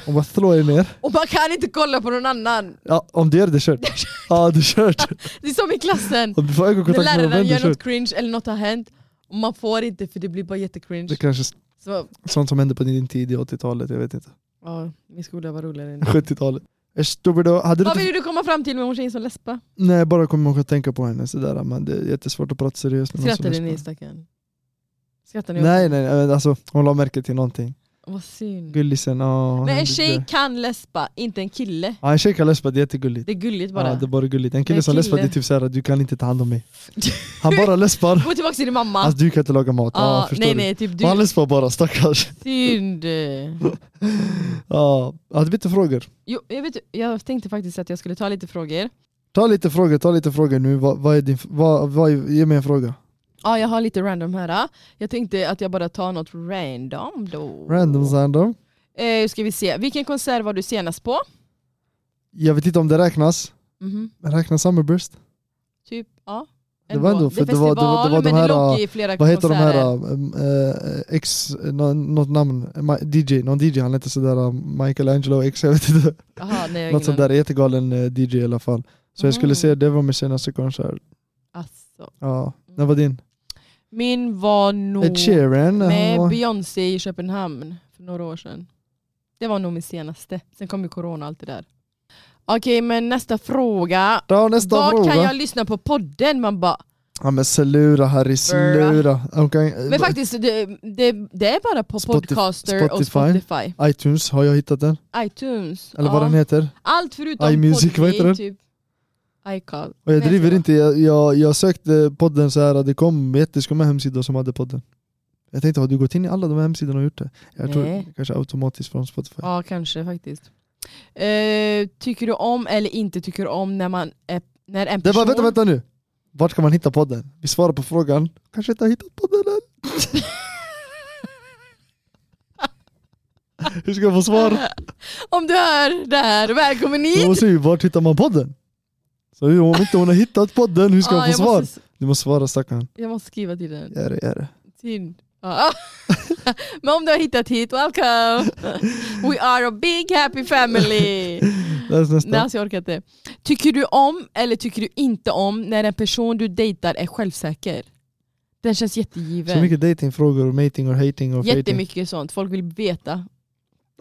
[SPEAKER 3] Om jag slår er ner,
[SPEAKER 2] Och man kan inte kolla på någon annan.
[SPEAKER 3] ja, om du gör det, det
[SPEAKER 2] [laughs]
[SPEAKER 3] är kört. Ja det är kört.
[SPEAKER 2] Det är som i klassen.
[SPEAKER 3] Om du får
[SPEAKER 2] När
[SPEAKER 3] ögonkontakt med någon
[SPEAKER 2] läraren
[SPEAKER 3] vän, det är
[SPEAKER 2] gör
[SPEAKER 3] kört.
[SPEAKER 2] något cringe eller något har hänt. Och man får inte för det blir bara
[SPEAKER 3] Det
[SPEAKER 2] jättecringe.
[SPEAKER 3] kanske är
[SPEAKER 2] Så,
[SPEAKER 3] sånt som hände på din tid i 80-talet, jag
[SPEAKER 2] [laughs]
[SPEAKER 3] vet inte.
[SPEAKER 2] ja, min skola var roligare
[SPEAKER 3] [laughs]
[SPEAKER 2] än
[SPEAKER 3] 70-talet. Äsch, Stubberdo, hade du
[SPEAKER 2] Vad
[SPEAKER 3] inte...
[SPEAKER 2] vill du komma fram till med hon tjejen som läspa?
[SPEAKER 3] Nej, jag bara kommer ihåg att tänka på henne sådär, men det är jättesvårt att prata seriöst med någon som
[SPEAKER 2] Skrattade
[SPEAKER 3] är
[SPEAKER 2] ni
[SPEAKER 3] så-
[SPEAKER 2] stackarn? Skrattade ni också?
[SPEAKER 3] Nej nej, nej, alltså hon la märke till någonting.
[SPEAKER 2] Vad synd.
[SPEAKER 3] Gullisen, ja.
[SPEAKER 2] Men en
[SPEAKER 3] hon-
[SPEAKER 2] tjej kan läspa, inte en kille.
[SPEAKER 3] Ja en tjej kan läspa, det är jättegulligt.
[SPEAKER 2] Det är gulligt bara.
[SPEAKER 3] Ja, det är bara gulligt. En kille
[SPEAKER 2] En
[SPEAKER 3] som läspar det
[SPEAKER 2] kille.
[SPEAKER 3] är typ såhär, du kan inte ta hand
[SPEAKER 2] [laughs]
[SPEAKER 3] om mig. Han bara läspar,
[SPEAKER 2] Gå tillbaka till din mamma.
[SPEAKER 3] alltså du kan inte laga mat. Ja,
[SPEAKER 2] ja,
[SPEAKER 3] förstår
[SPEAKER 2] nej
[SPEAKER 3] du?
[SPEAKER 2] nej, typ
[SPEAKER 3] Han
[SPEAKER 2] du.
[SPEAKER 3] läspar bara, stackars.
[SPEAKER 2] Synd.
[SPEAKER 3] Ja, hade vi inte frågor?
[SPEAKER 2] Jo, jag, vet, jag tänkte faktiskt att jag skulle ta lite frågor.
[SPEAKER 3] Ta lite frågor, ta lite frågor nu. Vad, vad är din, vad, vad, är- ge mig en fråga.
[SPEAKER 2] Ja, jag har lite random här. Jag tänkte att jag bara tar något random då.
[SPEAKER 3] Random random.
[SPEAKER 2] Eh, ska vi se. Vilken konsert var du senast på?
[SPEAKER 3] Jag vet inte om det räknas.
[SPEAKER 2] Mhm.
[SPEAKER 3] Men Räknas Summerburst?
[SPEAKER 2] Typ, ja.
[SPEAKER 3] Det var ändå- för
[SPEAKER 2] det,
[SPEAKER 3] det var- det var- det var de
[SPEAKER 2] men det
[SPEAKER 3] här, äh,
[SPEAKER 2] låg i flera
[SPEAKER 3] Vad heter de
[SPEAKER 2] konserter.
[SPEAKER 3] här, um, eh, ex, nå- något namn, Ma- DJ, någon DJ, han heter sådär um, Michelangelo X, jag vet inte.
[SPEAKER 2] Aha, nej, jag har
[SPEAKER 3] Något
[SPEAKER 2] ingen
[SPEAKER 3] sånt där, jättegalen eh, DJ i alla fall. Så jag skulle
[SPEAKER 2] Mm.
[SPEAKER 3] säga det var min senaste konsert.
[SPEAKER 2] Alltså,
[SPEAKER 3] Ja, när var din?
[SPEAKER 2] min var nog
[SPEAKER 3] Ed Sheeran, han
[SPEAKER 2] med
[SPEAKER 3] var,
[SPEAKER 2] Beyoncé i Köpenhamn för några år sedan. Det var nog min senaste. Sen kom ju corona och allt det där. Okej, men nästa fråga.
[SPEAKER 3] ta nästa
[SPEAKER 2] Var
[SPEAKER 3] fråga.
[SPEAKER 2] kan jag lyssna på podden? Man bara,
[SPEAKER 3] Ja men slura Harry, slura. eh, Okay.
[SPEAKER 2] men faktiskt, det, det, det är bara på
[SPEAKER 3] Spotif-
[SPEAKER 2] Podcaster och
[SPEAKER 3] Spotify.
[SPEAKER 2] Spotify.
[SPEAKER 3] iTunes, har jag hittat den?
[SPEAKER 2] iTunes.
[SPEAKER 3] Eller vad
[SPEAKER 2] ja.
[SPEAKER 3] den heter?
[SPEAKER 2] Allt förutom
[SPEAKER 3] iMusic,
[SPEAKER 2] Podbean,
[SPEAKER 3] vad heter den?
[SPEAKER 2] Typ. iCloud.
[SPEAKER 3] Och jag
[SPEAKER 2] Nej,
[SPEAKER 3] driver
[SPEAKER 2] så-
[SPEAKER 3] inte, jag, jag, jag sökte podden så här, det kom jätteskumma hemsidor som hade podden. Jag tänkte, har du gått in i alla de här hemsidorna och gjort det? Jag tror
[SPEAKER 2] Nej.
[SPEAKER 3] kanske automatiskt från Spotify.
[SPEAKER 2] Ja, kanske faktiskt. Eh, tycker du om eller inte tycker om när man är, när en
[SPEAKER 3] Det
[SPEAKER 2] person...
[SPEAKER 3] var, vänta, vänta nu! Vart kan man hitta podden? Vi svarar på frågan, kanske inte har hittat podden
[SPEAKER 2] [laughs]
[SPEAKER 3] än? Hur ska jag få svar?
[SPEAKER 2] Om du hör det här, välkommen hit!
[SPEAKER 3] Jag måste ju, vart hittar man podden? Så ju, om inte hon har hittat podden, hur ska
[SPEAKER 2] Ja,
[SPEAKER 3] hon få
[SPEAKER 2] jag
[SPEAKER 3] svar?
[SPEAKER 2] Måste,
[SPEAKER 3] Du måste svara stackarn.
[SPEAKER 2] jag måste skriva till den.
[SPEAKER 3] Är det, är det.
[SPEAKER 2] Synd. Ja. [laughs] Men om du har hittat hit, welcome! We are a big happy
[SPEAKER 3] [laughs]
[SPEAKER 2] family!
[SPEAKER 3] Läs nästa.
[SPEAKER 2] Nej, alltså jag orkar inte. Tycker du om eller tycker du inte om när en person du dejtar är självsäker? Den känns
[SPEAKER 3] Så
[SPEAKER 2] jättegiven.
[SPEAKER 3] mycket datingfrågor, och mating och hating och fating.
[SPEAKER 2] Jättemycket sånt, folk vill veta.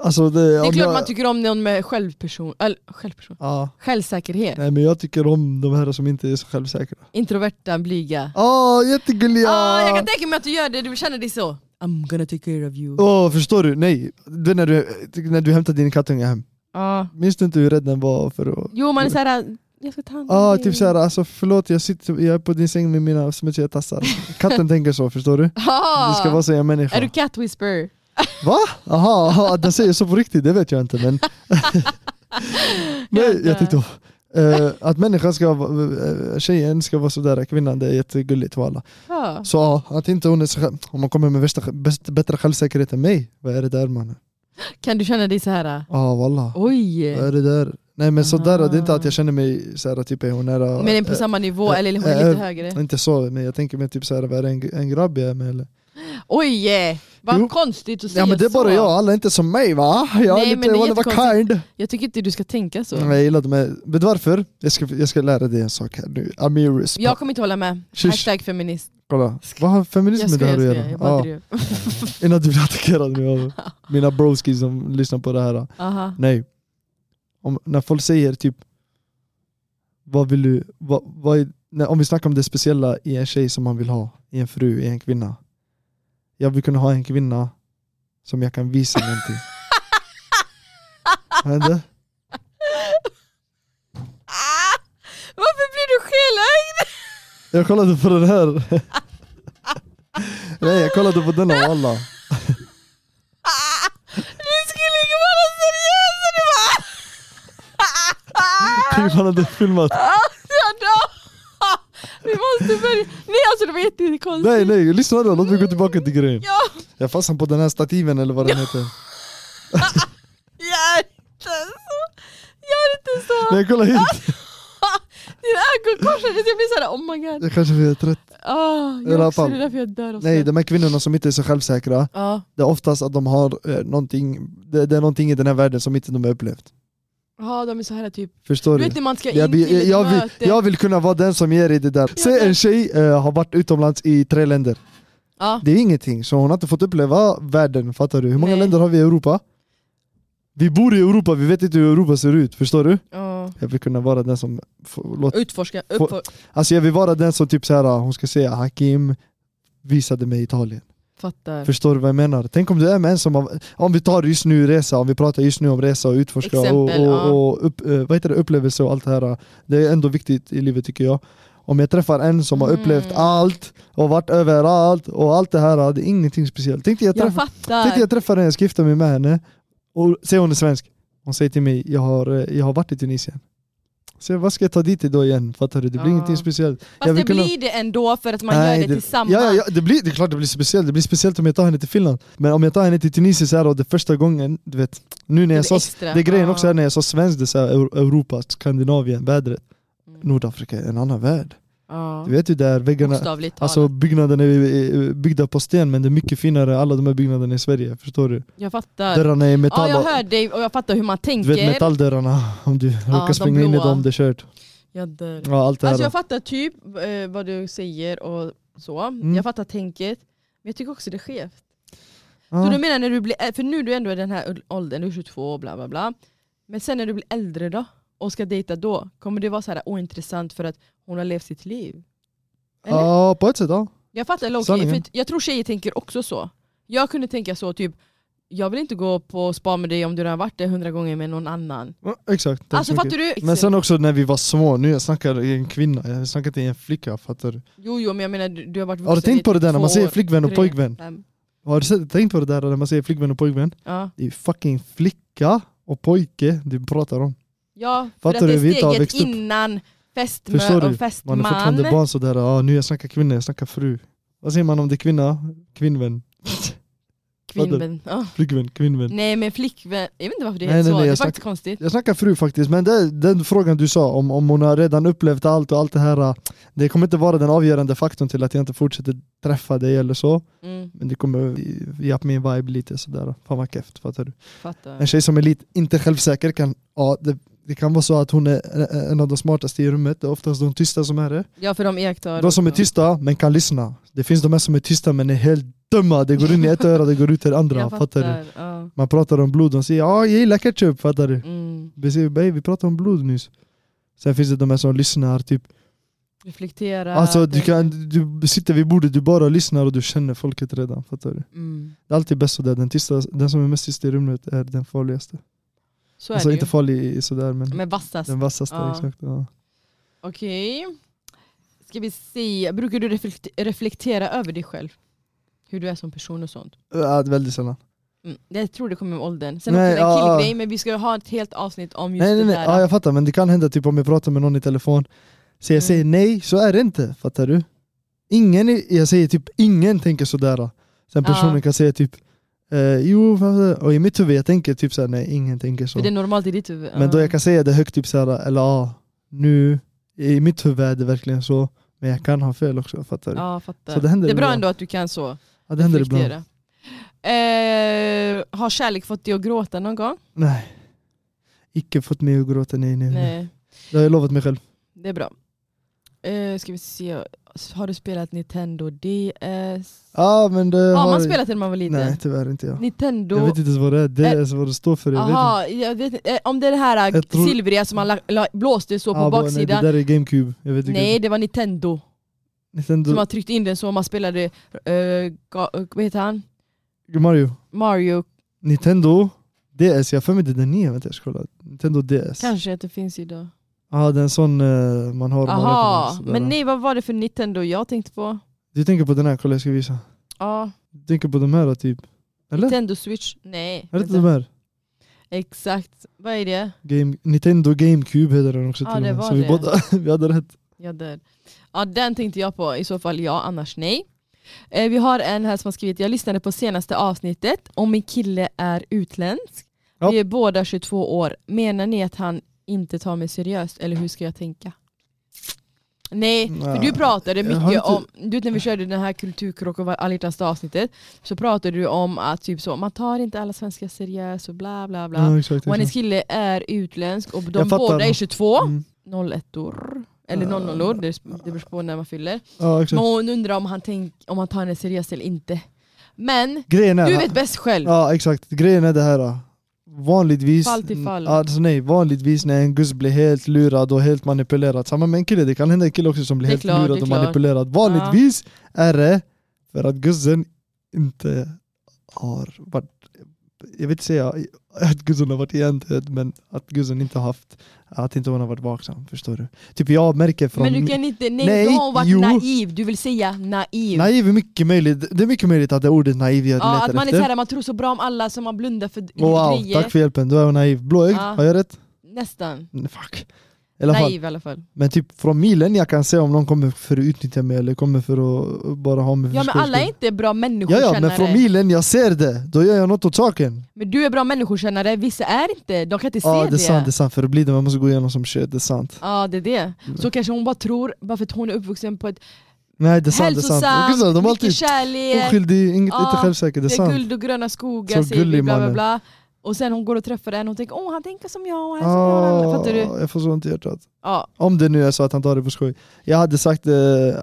[SPEAKER 3] Alltså det,
[SPEAKER 2] Det är
[SPEAKER 3] om
[SPEAKER 2] klart
[SPEAKER 3] jag,
[SPEAKER 2] man tycker om någon med självperson, eller, självperson.
[SPEAKER 3] ja,
[SPEAKER 2] självsäkerhet.
[SPEAKER 3] nej men jag tycker om de här som inte är så självsäkra.
[SPEAKER 2] Introverta, blyga.
[SPEAKER 3] Åh, jättegulliga!
[SPEAKER 2] Ah, jag kan tänka mig att du gör det, du känner dig så. I'm gonna take care of you.
[SPEAKER 3] Åh, förstår du? Nej, det är när du, när du hämtar din kattunge hem.
[SPEAKER 2] Ja.
[SPEAKER 3] Minns du inte hur rädd den var för att...
[SPEAKER 2] Ah. Jo man är såhär, jag ska ta hand om
[SPEAKER 3] Ja, ah,
[SPEAKER 2] dig.
[SPEAKER 3] typ såhär, alltså förlåt jag sitter jag är på din säng med mina smutsiga tassar.
[SPEAKER 2] [laughs]
[SPEAKER 3] Katten tänker så, förstår du?
[SPEAKER 2] Ah,
[SPEAKER 3] Det ska vara så jag är människa.
[SPEAKER 2] Är du cat whisperer?
[SPEAKER 3] Va? Aha, aha, att den säger så på riktigt, det vet jag
[SPEAKER 2] [laughs]
[SPEAKER 3] inte men... Nej, jag tyckte eh, att människan ska vara, eh, tjejen ska vara sådär, kvinnan det är jättegulligt walla.
[SPEAKER 2] Ja.
[SPEAKER 3] Så ja, att inte hon är så själv, om man kommer med värsta, bäst, bättre självsäkerhet än mig, vad är det där mannen?
[SPEAKER 2] Kan du känna dig så här?
[SPEAKER 3] Ja walla,
[SPEAKER 2] Oj!
[SPEAKER 3] vad är det där? Nej men sådär,
[SPEAKER 2] Aha.
[SPEAKER 3] det är inte att jag känner mig såhär typ är hon nära...
[SPEAKER 2] Men är på samma nivå
[SPEAKER 3] eh,
[SPEAKER 2] eller hon är
[SPEAKER 3] eh,
[SPEAKER 2] lite högre?
[SPEAKER 3] eh, Inte så, men jag tänker mig typ såhär, vad är det en, en grabb jag är med eller?
[SPEAKER 2] Oj! eh, Vad
[SPEAKER 3] Jo.
[SPEAKER 2] konstigt att säga
[SPEAKER 3] Ja men det är
[SPEAKER 2] så.
[SPEAKER 3] bara jag, alla är inte som mig va? Jag
[SPEAKER 2] Nej,
[SPEAKER 3] är
[SPEAKER 2] men det
[SPEAKER 3] lite
[SPEAKER 2] är
[SPEAKER 3] one of a
[SPEAKER 2] jättekonstigt.
[SPEAKER 3] kind.
[SPEAKER 2] Jag tycker inte du ska tänka så.
[SPEAKER 3] Nej, Jag gillar de här. Vet du varför? Jag ska, jag ska lära dig en sak här nu. Amiris.
[SPEAKER 2] Jag kommer inte hålla med.
[SPEAKER 3] Shish.
[SPEAKER 2] Hashtag feminist.
[SPEAKER 3] Kolla. Vad har feminism
[SPEAKER 2] Jag
[SPEAKER 3] med det
[SPEAKER 2] skojar,
[SPEAKER 3] här
[SPEAKER 2] jag
[SPEAKER 3] att
[SPEAKER 2] skojar.
[SPEAKER 3] göra?
[SPEAKER 2] Jag bara
[SPEAKER 3] Ja,
[SPEAKER 2] drev.
[SPEAKER 3] innan du blir attackerad nu
[SPEAKER 2] [laughs]
[SPEAKER 3] av mina broskis som lyssnar på det här.
[SPEAKER 2] Aha.
[SPEAKER 3] Nej. Om, när folk säger typ vad vill du, vad, vad är, när, om vi snackar om det speciella i en tjej som man vill ha, i en fru, i en kvinna. Jag vill kunna ha en kvinna som jag kan visa någonting. Vad hände?
[SPEAKER 2] Ah! Varför blir du skelögd?
[SPEAKER 3] Jag kollade på den här. [laughs] Nej, jag kollade på denna och alla.
[SPEAKER 2] Ah! Du skulle ju vara seriös! och Du bara... Ah!
[SPEAKER 3] Tänk om han hade filmat.
[SPEAKER 2] Ah, jag dör. Vi måste börja. Nej alltså det var jätte- jättekonstigt.
[SPEAKER 3] Nej, nej, lyssna då. Låt mig gå tillbaka till grejen.
[SPEAKER 2] Ja,
[SPEAKER 3] Jag fastnade på den här stativen eller vad den heter.
[SPEAKER 2] gör inte så. Gör inte så.
[SPEAKER 3] Nej, kolla hit.
[SPEAKER 2] Dina ögon korsades, jag blir såhär oh my god.
[SPEAKER 3] Jag kanske blir trött.
[SPEAKER 2] Ah,
[SPEAKER 3] Eller
[SPEAKER 2] jag också,
[SPEAKER 3] fan.
[SPEAKER 2] det är därför jag dör av
[SPEAKER 3] Nej,
[SPEAKER 2] skratt.
[SPEAKER 3] de här kvinnorna som inte är så självsäkra.
[SPEAKER 2] Ja,
[SPEAKER 3] Det är oftast att de har eh, någonting, det, det är någonting i den här världen som inte de har upplevt.
[SPEAKER 2] ah, de är så här typ.
[SPEAKER 3] Förstår
[SPEAKER 2] Du
[SPEAKER 3] du?
[SPEAKER 2] vet när man ska in
[SPEAKER 3] Jag,
[SPEAKER 2] till
[SPEAKER 3] vill-
[SPEAKER 2] ett
[SPEAKER 3] jag, vill,
[SPEAKER 2] möte.
[SPEAKER 3] jag vill kunna vara den som ger dig det där. Säg en tjej eh, har varit utomlands i tre länder.
[SPEAKER 2] Ja,
[SPEAKER 3] Det är ingenting, så hon har inte fått uppleva världen, fattar du? Hur många
[SPEAKER 2] Nej.
[SPEAKER 3] länder har vi i Europa? Vi bor i Europa, vi vet inte hur Europa ser ut, förstår du?
[SPEAKER 2] ja.
[SPEAKER 3] Jag vill kunna vara den som... Får, låt,
[SPEAKER 2] Utforska, uppfor...
[SPEAKER 3] alltså jag vill vara den som typ såhär, hon ska säga Hakim visade mig Italien.
[SPEAKER 2] fattar.
[SPEAKER 3] Förstår du vad jag menar? Tänk om du är med en som har, om vi tar just nu resa, om vi pratar just nu om resa och utforska
[SPEAKER 2] Exempel,
[SPEAKER 3] och,
[SPEAKER 2] ja.
[SPEAKER 3] och, och upp, eh, vad heter det, upplevelse och allt det här. Det är ändå viktigt i livet tycker jag. Om jag träffar en som har
[SPEAKER 2] Mm.
[SPEAKER 3] upplevt allt och varit överallt och allt det här, det är ingenting speciellt. Tänk dig jag,
[SPEAKER 2] Jag
[SPEAKER 3] träffar, tänk dig
[SPEAKER 2] fattar.
[SPEAKER 3] jag träffar en, jag ska gifta mig med henne och säger hon är svensk. Hon säger till mig, jag har, eh, jag har varit i Tunisien. Så jag, vad ska jag ta dit då igen? Fattar du? Det blir
[SPEAKER 2] Ja.
[SPEAKER 3] ingenting speciellt. jag
[SPEAKER 2] Fast det
[SPEAKER 3] vill kunna-
[SPEAKER 2] blir det ändå för att man
[SPEAKER 3] Nej,
[SPEAKER 2] gör det tillsammans.
[SPEAKER 3] Ja, ja, ja, det, blir, det är klart det blir speciellt, det blir speciellt om jag tar henne till Finland. Men om jag tar henne till Tunisien så här och det första gången, du vet, nu när
[SPEAKER 2] blir
[SPEAKER 3] jag sa,
[SPEAKER 2] extra.
[SPEAKER 3] det är grejen
[SPEAKER 2] Ja.
[SPEAKER 3] också här när jag sa svensk, det är så här, Eu- Europa, Skandinavien, vädret.
[SPEAKER 2] Mm.
[SPEAKER 3] Nordafrika är en annan värld.
[SPEAKER 2] Ja.
[SPEAKER 3] Du vet ju där väggarna,
[SPEAKER 2] Bokstavligt talat.
[SPEAKER 3] alltså byggnaderna är är byggda på sten men det är mycket finare, alla de här byggnaderna i Sverige, förstår du?
[SPEAKER 2] jag fattar.
[SPEAKER 3] Dörrarna är
[SPEAKER 2] Ja,
[SPEAKER 3] metall,
[SPEAKER 2] jag
[SPEAKER 3] och-
[SPEAKER 2] hör dig och jag fattar hur man
[SPEAKER 3] du vet
[SPEAKER 2] tänker.
[SPEAKER 3] metalldörrarna, om du råkar
[SPEAKER 2] de
[SPEAKER 3] springa in i
[SPEAKER 2] blåa.
[SPEAKER 3] dem, det är kört.
[SPEAKER 2] Jag dör.
[SPEAKER 3] Ja, allt det här.
[SPEAKER 2] Alltså jag fattar typ eh, vad du säger och så.
[SPEAKER 3] Mm.
[SPEAKER 2] Jag fattar tänket. Men jag tycker också det är skevt. Så
[SPEAKER 3] Ja.
[SPEAKER 2] du menar när du blir äl- för nu är du ändå i den här åldern, du är 22 och bla bla bla. Men sen när du blir äldre då? Och ska dejta då? Kommer det vara så här ointressant för att hon har levt sitt liv? Eller?
[SPEAKER 3] Ja, på ett sätt ja.
[SPEAKER 2] Jag fattar low
[SPEAKER 3] Sanningen.
[SPEAKER 2] för att jag tror tjejer tänker också så. Jag kunde tänka så typ, jag vill inte gå på spa med dig om du redan varit där hundra gånger med någon annan.
[SPEAKER 3] Ja, Exakt. Tack så
[SPEAKER 2] Alltså
[SPEAKER 3] mycket.
[SPEAKER 2] fattar du?
[SPEAKER 3] Men sen också när vi var små, nu jag snackar i en kvinna, jag snackar inte i en flicka, fattar du?
[SPEAKER 2] Jo jo men jag menar du, du har varit vuxen
[SPEAKER 3] Har du tänkt på det där när man säger flickvän och
[SPEAKER 2] tre,
[SPEAKER 3] pojkvän?
[SPEAKER 2] fem.
[SPEAKER 3] Har du sett- tänkt på det där när man säger flickvän och pojkvän?
[SPEAKER 2] Ja.
[SPEAKER 3] Det är ju fucking flicka och pojke du pratar om.
[SPEAKER 2] Ja, för
[SPEAKER 3] Fattar
[SPEAKER 2] att det
[SPEAKER 3] du? Vi
[SPEAKER 2] är
[SPEAKER 3] inte har
[SPEAKER 2] steget
[SPEAKER 3] växt upp.
[SPEAKER 2] innan
[SPEAKER 3] Förstår
[SPEAKER 2] fästmö
[SPEAKER 3] du?
[SPEAKER 2] och fästman.
[SPEAKER 3] Man är fortfarande barn sådär, ja nu jag snackar kvinna, jag snackar fru. Vad säger man om det är kvinna? Kvinnvän,
[SPEAKER 2] Kvinnvän. Ja.
[SPEAKER 3] flickvän, kvinnvän.
[SPEAKER 2] Nej men flickvän, jag vet inte varför det är
[SPEAKER 3] Nej,
[SPEAKER 2] så,
[SPEAKER 3] nej, nej,
[SPEAKER 2] det är
[SPEAKER 3] jag
[SPEAKER 2] faktiskt konstigt.
[SPEAKER 3] Jag snackar fru faktiskt, men det, den frågan du sa om, om hon har redan upplevt allt och allt det här, det kommer inte vara den avgörande faktorn till att jag inte fortsätter träffa dig eller så.
[SPEAKER 2] Mm,
[SPEAKER 3] Men det kommer ge upp min vibe lite sådär, fan vad keft, fattar du? En
[SPEAKER 2] fattar.
[SPEAKER 3] tjej som är lite, inte självsäker kan, ja det, det kan vara så att hon är en- en av de smartaste i rummet, det är oftast de tysta som är det.
[SPEAKER 2] Ja för de iakttar.
[SPEAKER 3] De som är
[SPEAKER 2] också.
[SPEAKER 3] tysta men kan lyssna. Det finns de här som är tysta men är helt dumma, det går in i ett öra, det går ut i det andra,
[SPEAKER 2] Jag
[SPEAKER 3] fattar du?
[SPEAKER 2] Ja.
[SPEAKER 3] Man pratar om blod, de säger ja jag gillar ketchup, fattar du?
[SPEAKER 2] Mm.
[SPEAKER 3] Vi säger "Babe, vi pratade om blod nyss. Sen finns det de här som lyssnar, typ
[SPEAKER 2] Reflektera.
[SPEAKER 3] Alltså du, kan, du sitter vid bordet, du bara lyssnar och du känner folket redan, fattar du?
[SPEAKER 2] Mm.
[SPEAKER 3] Det är alltid bäst sådär, den, tysta, den som är mest tyst i rummet är den farligaste.
[SPEAKER 2] Så är
[SPEAKER 3] Alltså
[SPEAKER 2] det
[SPEAKER 3] inte
[SPEAKER 2] ju.
[SPEAKER 3] farlig i- sådär men
[SPEAKER 2] Men vassast.
[SPEAKER 3] den vassaste.
[SPEAKER 2] Ja.
[SPEAKER 3] Exakt, ja.
[SPEAKER 2] Okej. Ska vi se, brukar du reflekt- reflektera över dig själv? Hur du är som person och sånt.
[SPEAKER 3] Ja, det är väldigt sällan.
[SPEAKER 2] Mm. Jag tror det kommer med åldern. Sen
[SPEAKER 3] Nej,
[SPEAKER 2] också en
[SPEAKER 3] ja, ja.
[SPEAKER 2] killgrej, men vi ska ju ha ett helt avsnitt om just
[SPEAKER 3] Nej nej
[SPEAKER 2] det
[SPEAKER 3] nej,
[SPEAKER 2] där.
[SPEAKER 3] ja, jag fattar men det kan hända typ om jag pratar med någon i telefon Så jag
[SPEAKER 2] Mm.
[SPEAKER 3] säger nej, så är det inte, fattar du? Ingen, i- jag säger typ ingen tänker sådär Sen
[SPEAKER 2] Ja.
[SPEAKER 3] personen kan säga typ eh, jo, fattar du? och i mitt huvud jag tänker typ såhär nej, ingen tänker så
[SPEAKER 2] För det är normalt i ditt huvud.
[SPEAKER 3] Men då jag kan säga det högt typ såhär, eller ja, nu, i mitt huvud är det verkligen så Men jag kan ha fel också, fattar du? Ja,
[SPEAKER 2] Ja, jag fattar.
[SPEAKER 3] Så det händer
[SPEAKER 2] det är bra
[SPEAKER 3] ibland.
[SPEAKER 2] ändå att du kan så
[SPEAKER 3] det händer ibland
[SPEAKER 2] reflektera. Eh, har kärlek fått dig att gråta någon gång?
[SPEAKER 3] Nej Icke fått mig att gråta, nej nej, nej.
[SPEAKER 2] Nej,
[SPEAKER 3] Det har jag lovat mig själv
[SPEAKER 2] det är bra. Eh, ska vi se, har du spelat Nintendo DS?
[SPEAKER 3] Ja men det
[SPEAKER 2] har
[SPEAKER 3] har
[SPEAKER 2] man
[SPEAKER 3] jag-
[SPEAKER 2] spelat det när man var liten?
[SPEAKER 3] Nej tyvärr inte jag
[SPEAKER 2] Nintendo...
[SPEAKER 3] Jag vet inte ens vad det är, det är vad det står för, jag vet inte.
[SPEAKER 2] Aha, jag vet inte. Eh, om det är det här
[SPEAKER 3] Jag tror-
[SPEAKER 2] silvriga som man la, la, blåste så på
[SPEAKER 3] Ah, bo-
[SPEAKER 2] baksidan.
[SPEAKER 3] Nej, det där är GameCube, jag vet
[SPEAKER 2] Nej,
[SPEAKER 3] inte. Nej,
[SPEAKER 2] det var Nintendo
[SPEAKER 3] Nintendo,
[SPEAKER 2] som har tryckt in den så man spelade, eh, ga, eh, vad heter han?
[SPEAKER 3] Mario,
[SPEAKER 2] Mario,
[SPEAKER 3] Nintendo DS, jag har för mig det är den nya, vänta jag ska kolla Nintendo DS Ja
[SPEAKER 2] kanske att det finns idag.
[SPEAKER 3] ah, det är en sån eh, man har man
[SPEAKER 2] Aha,
[SPEAKER 3] öppnar sådär.
[SPEAKER 2] men nej vad var det för Nintendo jag tänkte på?
[SPEAKER 3] Du tänker på den här, kolla jag ska visa
[SPEAKER 2] Ja,
[SPEAKER 3] Du tänker på de här typ, eller?
[SPEAKER 2] Nintendo Switch, nej.
[SPEAKER 3] Är det inte
[SPEAKER 2] vänta.
[SPEAKER 3] de här?
[SPEAKER 2] Exakt, vad är det?
[SPEAKER 3] Game, Nintendo GameCube heter den också
[SPEAKER 2] Ja,
[SPEAKER 3] till
[SPEAKER 2] det
[SPEAKER 3] och med,
[SPEAKER 2] var
[SPEAKER 3] så vi
[SPEAKER 2] det.
[SPEAKER 3] båda [laughs] vi hade rätt
[SPEAKER 2] Ja, där. ja, den tänkte jag på. I så fall ja, annars nej. Eh, vi har en här som har skrivit, jag lyssnade på senaste avsnittet och min kille är utländsk.
[SPEAKER 3] Ja.
[SPEAKER 2] Vi är båda 22 år. Menar ni att han inte tar mig seriöst eller hur ska jag tänka? Nej, för
[SPEAKER 3] Nej,
[SPEAKER 2] du pratade
[SPEAKER 3] jag har
[SPEAKER 2] mycket
[SPEAKER 3] inte-
[SPEAKER 2] om, du vet när vi körde den här kulturkrock och var- alla hjärtans dag avsnittet, så pratade du om att typ så, man tar inte alla svenskar seriöst och bla bla bla.
[SPEAKER 3] Ja, exakt,
[SPEAKER 2] Och hennes
[SPEAKER 3] exakt.
[SPEAKER 2] kille är utländsk och de
[SPEAKER 3] typ Jag fattar.
[SPEAKER 2] båda är 22
[SPEAKER 3] Mm.
[SPEAKER 2] 01or eller
[SPEAKER 3] Ja.
[SPEAKER 2] 00or, det det beror på när man fyller.
[SPEAKER 3] Ja,
[SPEAKER 2] Men
[SPEAKER 3] exakt.
[SPEAKER 2] hon undrar om han, tänk, om han tar henne seriöst eller inte. Men
[SPEAKER 3] Grejen är,
[SPEAKER 2] du vet bäst själv.
[SPEAKER 3] Ja exakt, grejen är det här då. Vanligtvis,
[SPEAKER 2] Fall till fall.
[SPEAKER 3] Alltså, nej, vanligtvis när en gus blir helt lurad och helt manipulerad, samma med en kille, det kan hända en kille också som blir
[SPEAKER 2] Det är
[SPEAKER 3] helt
[SPEAKER 2] klart, det
[SPEAKER 3] lurad
[SPEAKER 2] är
[SPEAKER 3] och
[SPEAKER 2] klart.
[SPEAKER 3] manipulerad. Vanligtvis är det för att gussen inte har varit, jag vill inte säga att gussen har varit egentligen men att gussen inte har haft, att inte hon har varit vaksam, förstår du? Typ jag märker från
[SPEAKER 2] Men du kan inte, nej,
[SPEAKER 3] Nej,
[SPEAKER 2] då har hon varit
[SPEAKER 3] jo.
[SPEAKER 2] naiv, du vill säga naiv.
[SPEAKER 3] Naiv är mycket möjligt, det är mycket möjligt att det är ordet naiv jag
[SPEAKER 2] ja,
[SPEAKER 3] letar
[SPEAKER 2] att man är
[SPEAKER 3] efter.
[SPEAKER 2] såhär, man tror så bra om alla som man blundar för
[SPEAKER 3] Wow,
[SPEAKER 2] grejer.
[SPEAKER 3] tack för hjälpen, du är naiv. Blåögd,
[SPEAKER 2] Ja.
[SPEAKER 3] har jag rätt?
[SPEAKER 2] Nästan.
[SPEAKER 3] Nej, Fuck. I alla fall.
[SPEAKER 2] Naiv i alla fall.
[SPEAKER 3] Men typ från milen jag kan se om någon kommer för att utnyttja mig eller kommer för att bara ha mig för
[SPEAKER 2] Ja men
[SPEAKER 3] skojs
[SPEAKER 2] alla är
[SPEAKER 3] skull.
[SPEAKER 2] inte bra
[SPEAKER 3] Ja, ja, men
[SPEAKER 2] människokännare.
[SPEAKER 3] från milen jag ser det, då gör jag något åt saken.
[SPEAKER 2] men du är bra människokännare, vissa är inte, de kan inte se
[SPEAKER 3] Ja det är sant, det är sant. För att bli det man måste gå igenom som shit, det är sant.
[SPEAKER 2] Ja det är det. Så kanske hon bara tror, bara för att hon är uppvuxen på ett
[SPEAKER 3] Nej Mm. det är sant, det är sant. Och gud,
[SPEAKER 2] hälsosamt,
[SPEAKER 3] de är alltid
[SPEAKER 2] mycket kärlek,
[SPEAKER 3] oskyldig, inget,
[SPEAKER 2] Ja,
[SPEAKER 3] inte självsäker, det är
[SPEAKER 2] det är
[SPEAKER 3] sant.
[SPEAKER 2] guld och gröna skogar
[SPEAKER 3] Så
[SPEAKER 2] säger vi,
[SPEAKER 3] gullig
[SPEAKER 2] bla bla
[SPEAKER 3] mannen.
[SPEAKER 2] bla. Och sen hon går och träffar en och tänker åh han tänker som jag, och han är som jag.
[SPEAKER 3] Ah,
[SPEAKER 2] Fattar du?
[SPEAKER 3] jag får sånt i hjärtat.
[SPEAKER 2] Ja.
[SPEAKER 3] Om det nu är så att han tar det på skoj. Jag hade sagt, eh,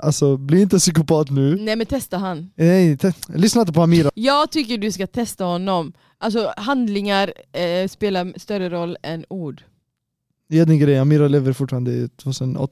[SPEAKER 3] alltså bli inte psykopat nu.
[SPEAKER 2] Nej men testa han.
[SPEAKER 3] Nej, te- lyssna inte på Amira.
[SPEAKER 2] Jag tycker du ska testa honom. Alltså handlingar eh, spelar större roll än
[SPEAKER 3] Alltså,
[SPEAKER 2] ord.
[SPEAKER 3] Det är din grej, Amira lever fortfarande i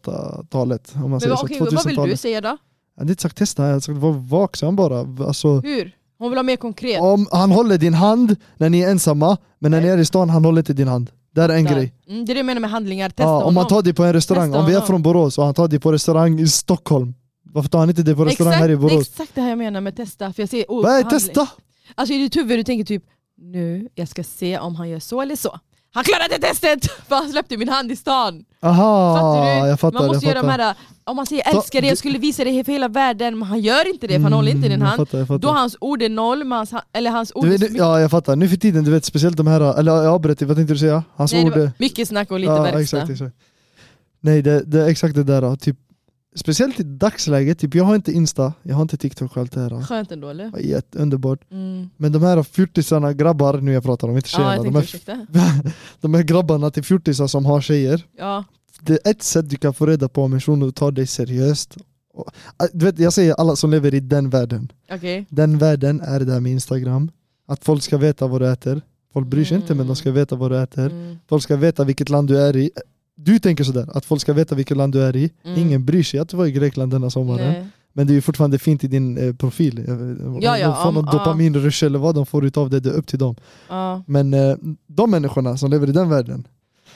[SPEAKER 3] 2008-talet. Om man
[SPEAKER 2] Men
[SPEAKER 3] säger så,
[SPEAKER 2] vad- okej, vad vill
[SPEAKER 3] 2000-talet.
[SPEAKER 2] du säga då?
[SPEAKER 3] Jag hade inte sagt testa, jag hade sagt var vaksam bara. Alltså,
[SPEAKER 2] Hur? Hon vill ha mer konkret.
[SPEAKER 3] om han håller din hand när ni är ensamma, men när ni är i stan, han håller inte din hand. Där är en
[SPEAKER 2] Där.
[SPEAKER 3] grej.
[SPEAKER 2] Mm, det är det jag menar med handlingar, testa
[SPEAKER 3] Ja, om
[SPEAKER 2] honom.
[SPEAKER 3] han tar dig på en restaurang,
[SPEAKER 2] Testa
[SPEAKER 3] om vi är
[SPEAKER 2] honom.
[SPEAKER 3] från Borås och han tar dig på restaurang i Stockholm, varför tar han inte dig på restaurang
[SPEAKER 2] exakt,
[SPEAKER 3] här i
[SPEAKER 2] det är
[SPEAKER 3] Borås?
[SPEAKER 2] exakt det här jag menar med testa. För jag ser, oh,
[SPEAKER 3] Vad är
[SPEAKER 2] handling.
[SPEAKER 3] testa?
[SPEAKER 2] Alltså i ditt huvud du tänker typ nu, jag ska se om han gör så eller så. Han klarade testet! [laughs] För han släppte min hand i stan.
[SPEAKER 3] Aha,
[SPEAKER 2] Fattar du?
[SPEAKER 3] jag fattar.
[SPEAKER 2] man måste
[SPEAKER 3] jag
[SPEAKER 2] göra de
[SPEAKER 3] fattar.
[SPEAKER 2] här, om han säger älskar dig, jag skulle visa dig för hela världen, men han gör inte det för han håller inte din
[SPEAKER 3] Mm,
[SPEAKER 2] hand.
[SPEAKER 3] Jag fattar, jag
[SPEAKER 2] Då
[SPEAKER 3] fattar.
[SPEAKER 2] hans ord är noll, men hans, eller hans ord
[SPEAKER 3] Du
[SPEAKER 2] är
[SPEAKER 3] vet,
[SPEAKER 2] så
[SPEAKER 3] nu,
[SPEAKER 2] mycket,
[SPEAKER 3] ja, jag fattar. Nu för tiden, du vet speciellt de här, eller jag avbröt dig, vad tänkte du säga? Hans
[SPEAKER 2] nej, det
[SPEAKER 3] ord är...
[SPEAKER 2] var mycket snack och lite verkstad.
[SPEAKER 3] exakt, exakt. Nej, det, det är exakt det där. då. Typ, speciellt i dagsläget, typ, jag har inte Insta, jag har inte TikTok och allt det här. då.
[SPEAKER 2] Skönt ändå eller?
[SPEAKER 3] Jätte- Underbart.
[SPEAKER 2] Mm.
[SPEAKER 3] Men de här fjortisarna, grabbar, nu jag pratar om, inte
[SPEAKER 2] Ja,
[SPEAKER 3] tjejerna.
[SPEAKER 2] jag
[SPEAKER 3] de,
[SPEAKER 2] tänkte
[SPEAKER 3] här,
[SPEAKER 2] ursäkta.
[SPEAKER 3] de här grabbarna till fjortisar som har tjejer.
[SPEAKER 2] Ja,
[SPEAKER 3] Det är ett sätt du kan få reda på om en person tar dig seriöst. Och, äh, du vet, jag säger alla som lever i den världen.
[SPEAKER 2] okej.
[SPEAKER 3] Den världen är det här med Instagram. Att folk ska veta vad du äter. Folk bryr sig inte men de ska veta vad du äter.
[SPEAKER 2] Mm.
[SPEAKER 3] Folk ska veta vilket land du är i. Du tänker sådär, att folk ska veta vilket land du är i.
[SPEAKER 2] Mm.
[SPEAKER 3] Ingen bryr sig att du var i Grekland denna sommaren.
[SPEAKER 2] Nej.
[SPEAKER 3] Men det är ju fortfarande fint i din eh, profil. Jag vet-
[SPEAKER 2] Ja, ja,
[SPEAKER 3] de får
[SPEAKER 2] om-
[SPEAKER 3] någon
[SPEAKER 2] ja.
[SPEAKER 3] dopaminrush eller vad de får utav det, det är upp till dem.
[SPEAKER 2] Ja.
[SPEAKER 3] Men eh, de människorna som lever i den världen,